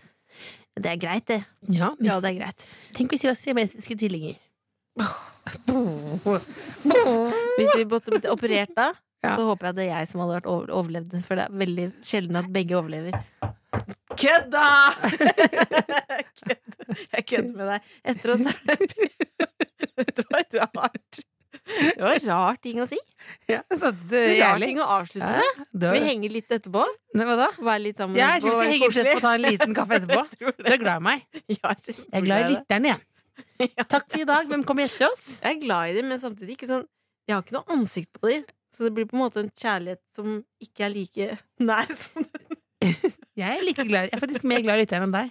S3: Det er greit, det.
S4: Ja,
S3: Ja, det er greit.
S4: Tenk hvis vi var siamesiske tvillinger.
S3: Hvis vi måtte blitt operert da,
S4: Ja.
S3: så håper jeg det er jeg som hadde vært over- overlevd. For det er veldig sjelden at begge overlever.
S4: Kødda!
S3: Jeg kødder med deg. Etter oss er det Det var rart. Det var rar ting å si.
S4: Ja, så det er
S3: Rar
S4: ærlig.
S3: ting å avslutte
S4: Ja,
S3: med.
S4: det var-
S3: Vi henger litt etterpå.
S4: Nei, Hva da?
S3: Være litt sammen
S4: Ja, jeg tror vi skal henge ut etterpå og ta en liten kaffe etterpå.
S3: Tror
S4: Du er glad i meg.
S3: Ja,
S4: Jeg er glad i lytterne, jeg. Takk for i dag. Hvem kommer etter oss?
S3: Jeg er glad i dem, men samtidig ikke sånn Jeg har ikke noe ansikt på dem. Så det blir på en måte en kjærlighet som ikke er like nær som den
S4: Jeg er, like glad. jeg er faktisk mer glad i lytteren enn deg.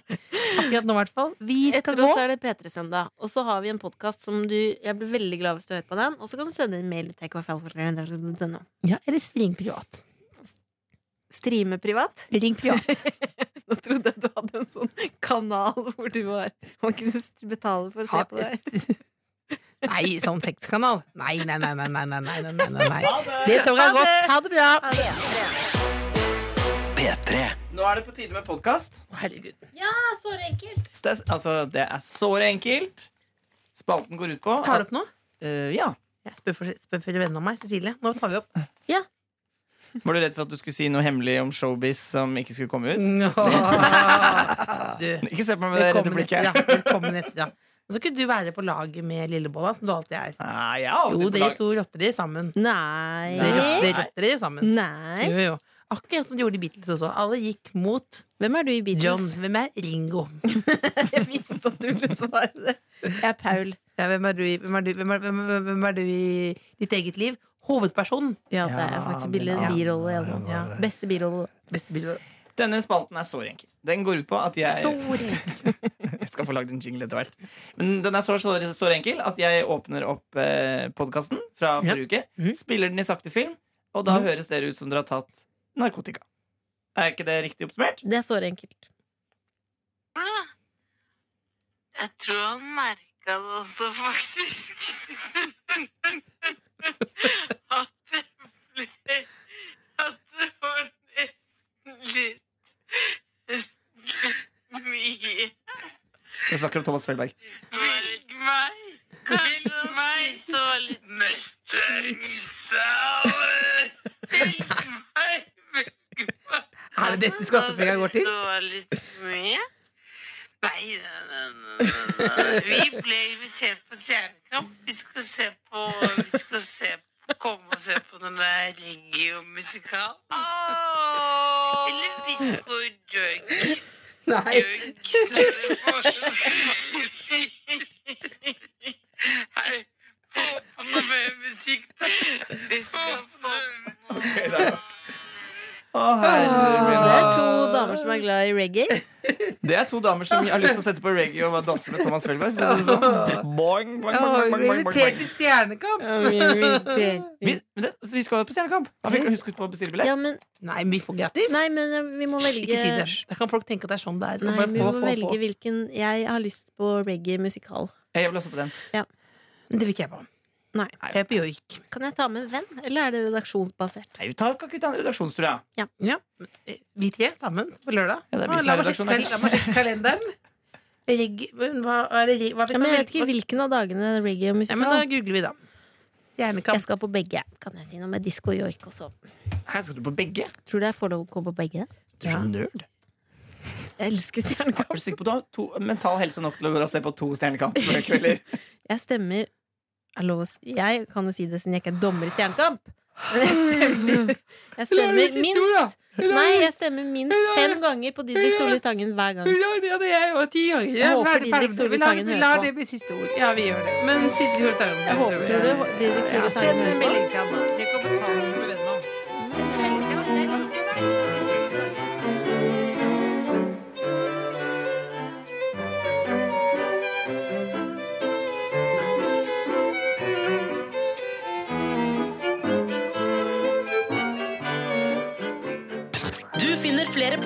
S4: Akkurat nå, i hvert fall. Vi skal
S3: Etter
S4: gå.
S3: oss er det P3-søndag. Og så har vi en podkast som du Jeg blir veldig glad hvis du hører på den. Og så kan du sende en mail til tkvfalfakrøll.no.
S4: Ja, eller ring privat.
S3: Streame privat.
S4: Ring privat.
S3: Nå trodde jeg du hadde en sånn kanal hvor du var Man kunne betale for å se
S4: Ha-
S3: på deg.
S4: Nei, sånn sexkanal. Nei, nei, nei, nei, nei, nei, nei, nei, nei, nei. Det toget er godt. Ha det bra.
S2: P3.
S8: Nå er det på tide med podkast.
S4: Å, Herregud.
S8: Altså, det er såre enkelt. Spalten går ut på
S4: Tar du opp nå?
S8: Eh, Ja.
S4: Jeg spør for, spør for vennen av meg, Cecilie. Nå tar vi opp.
S8: Var du redd for at du skulle si noe hemmelig om showbiz som ikke skulle komme
S4: Mm.
S8: ut?
S4: Du,
S8: Ikke se på meg med det redde
S4: velkommen etter.
S8: blikket.
S4: Ja, velkommen etter ja. Nå skal ikke du være på lag med Lillebolla, som du alltid er.
S8: Nei, jeg er alltid
S4: Jo,
S8: på
S4: de
S8: lag.
S4: to rotter de sammen.
S3: Nei.
S4: De rotter- de rotter de sammen.
S3: Nei.
S4: Jo, jo. Akkurat som de gjorde i Beatles også. Alle gikk mot
S3: Hvem er du i
S4: John.
S3: Beatles?
S4: Hvem er Ringo?
S3: Jeg visste at du ville svare det. Jeg er Paul.
S4: Ja, hvem, er du i, hvem, er du, hvem, er, hvem, er- hvem er du i ditt eget liv? Hovedpersonen.
S3: Ja, det er faktisk billig
S4: Ja.
S3: birolle. Ja.
S4: Ja.
S3: Beste birolle.
S4: Beste bildet.
S8: Denne spalten er såre enkel. Den går ut på at jeg
S3: Sorry.
S8: Jeg skal få lagd en jingle etter hvert. Men den er så, så, så enkel at jeg åpner opp eh, podkasten fra
S4: Ja.
S8: forrige uke,
S4: Mhm.
S8: spiller den i sakte film, og da høres dere ut som dere har tatt narkotika. Er ikke det riktig oppsummert?
S3: Det er såre enkelt.
S9: Jeg tror han merka det også, faktisk. At det ble At det var nesten litt litt mye.
S8: Jeg snakker om Thomas Felberg.
S9: Velg meg. Kanskje meg så litt Mustang Sour. Velg meg. Velg meg.
S4: Er det dette skattepenga går til?
S9: Så
S3: altså,
S9: litt med. Nei, nei, nei, nei, nei, nei. Vi ble invitert på Stjernekamp. Vi skal se på Vi skal se på Komme og se på den der regio-musikal. Eller Disco Jug.
S4: Nei.
S9: Jug, som det får si. Hei, Få på noe mer musikk, da. Vi skal få på noe
S8: Å, herre
S3: Det
S8: min.
S3: er to damer som er glad i reggae.
S8: Det er to damer som har lyst til å sette på reggae og danse med Thomas Felberg. For å si det sånn. boing, boing, boing, boing, boing, boing, boing.
S4: til Stjernekamp.
S8: Vi, men det, så vi skal jo på Stjernekamp. Da fikk jeg husket på å bestille billett.
S3: Ja, men,
S4: Nei, men vi får gratis.
S3: nei, men eh, vi må
S4: Hysj, Ikke si det.
S3: velge
S4: Da kan folk tenke at det er sånn det er.
S3: Nei,
S4: Bare
S3: men vi
S4: få,
S3: må
S4: få,
S3: velge
S4: få.
S3: hvilken Jeg har lyst på reggae musikal.
S8: Jeg vil også på den.
S4: Det vil ikke jeg på.
S3: Nei.
S4: Jeg er på joik.
S3: Kan jeg ta med en venn, eller er det redaksjonsbasert?
S8: Nei, vi tar ikke ut en redaksjonstur, ja.
S4: Ja. Vi tre sammen på lørdag.
S8: Ja, det er vi
S4: Ah,
S8: som
S4: la
S8: er
S4: meg sjekke
S8: redaksjonen.
S4: kal- la meg sjekke kalenderen. Reg, men hva er det reg- hva
S3: Ja, men jeg vet ikke hvilken av dagene reggae og
S4: ja, men Da
S3: musikal.
S4: googler vi, da. Stjernekamp.
S3: Jeg skal på begge. Kan jeg si noe med disko joik også?
S8: Her skal du på begge.
S3: Tror du jeg får lov å gå på begge?
S8: Du er så nerd.
S3: Jeg elsker Stjernekamp.
S8: Er du sikker på at du har to, mental helse nok til å gå og se på to Stjernekamp-kvelder?
S3: Jeg stemmer er lov å si- Jeg kan jo si det siden jeg ikke er dommer i Stjernekamp. Men jeg stemmer, jeg stemmer minst Nei, jeg stemmer minst fem ganger på Didrik Solli Tangen hver gang.
S4: Ja, det hadde jeg òg. Ti ganger.
S3: Jeg håper liksom
S4: Ferdig,
S3: Didrik Solbakken
S4: ferdig. Vi lar, vi
S3: hører
S4: lar
S3: på.
S4: det bli siste ord. Ja, vi gjør det. Men Silje Solbakken
S3: Jeg håper tror du hå- Didrik
S4: Ja,
S3: Solli
S4: send
S3: Tangen
S4: en
S3: hører på.
S4: melding til han, da.
S8: Jeg kan betale for den nå.
S5: Du finner flere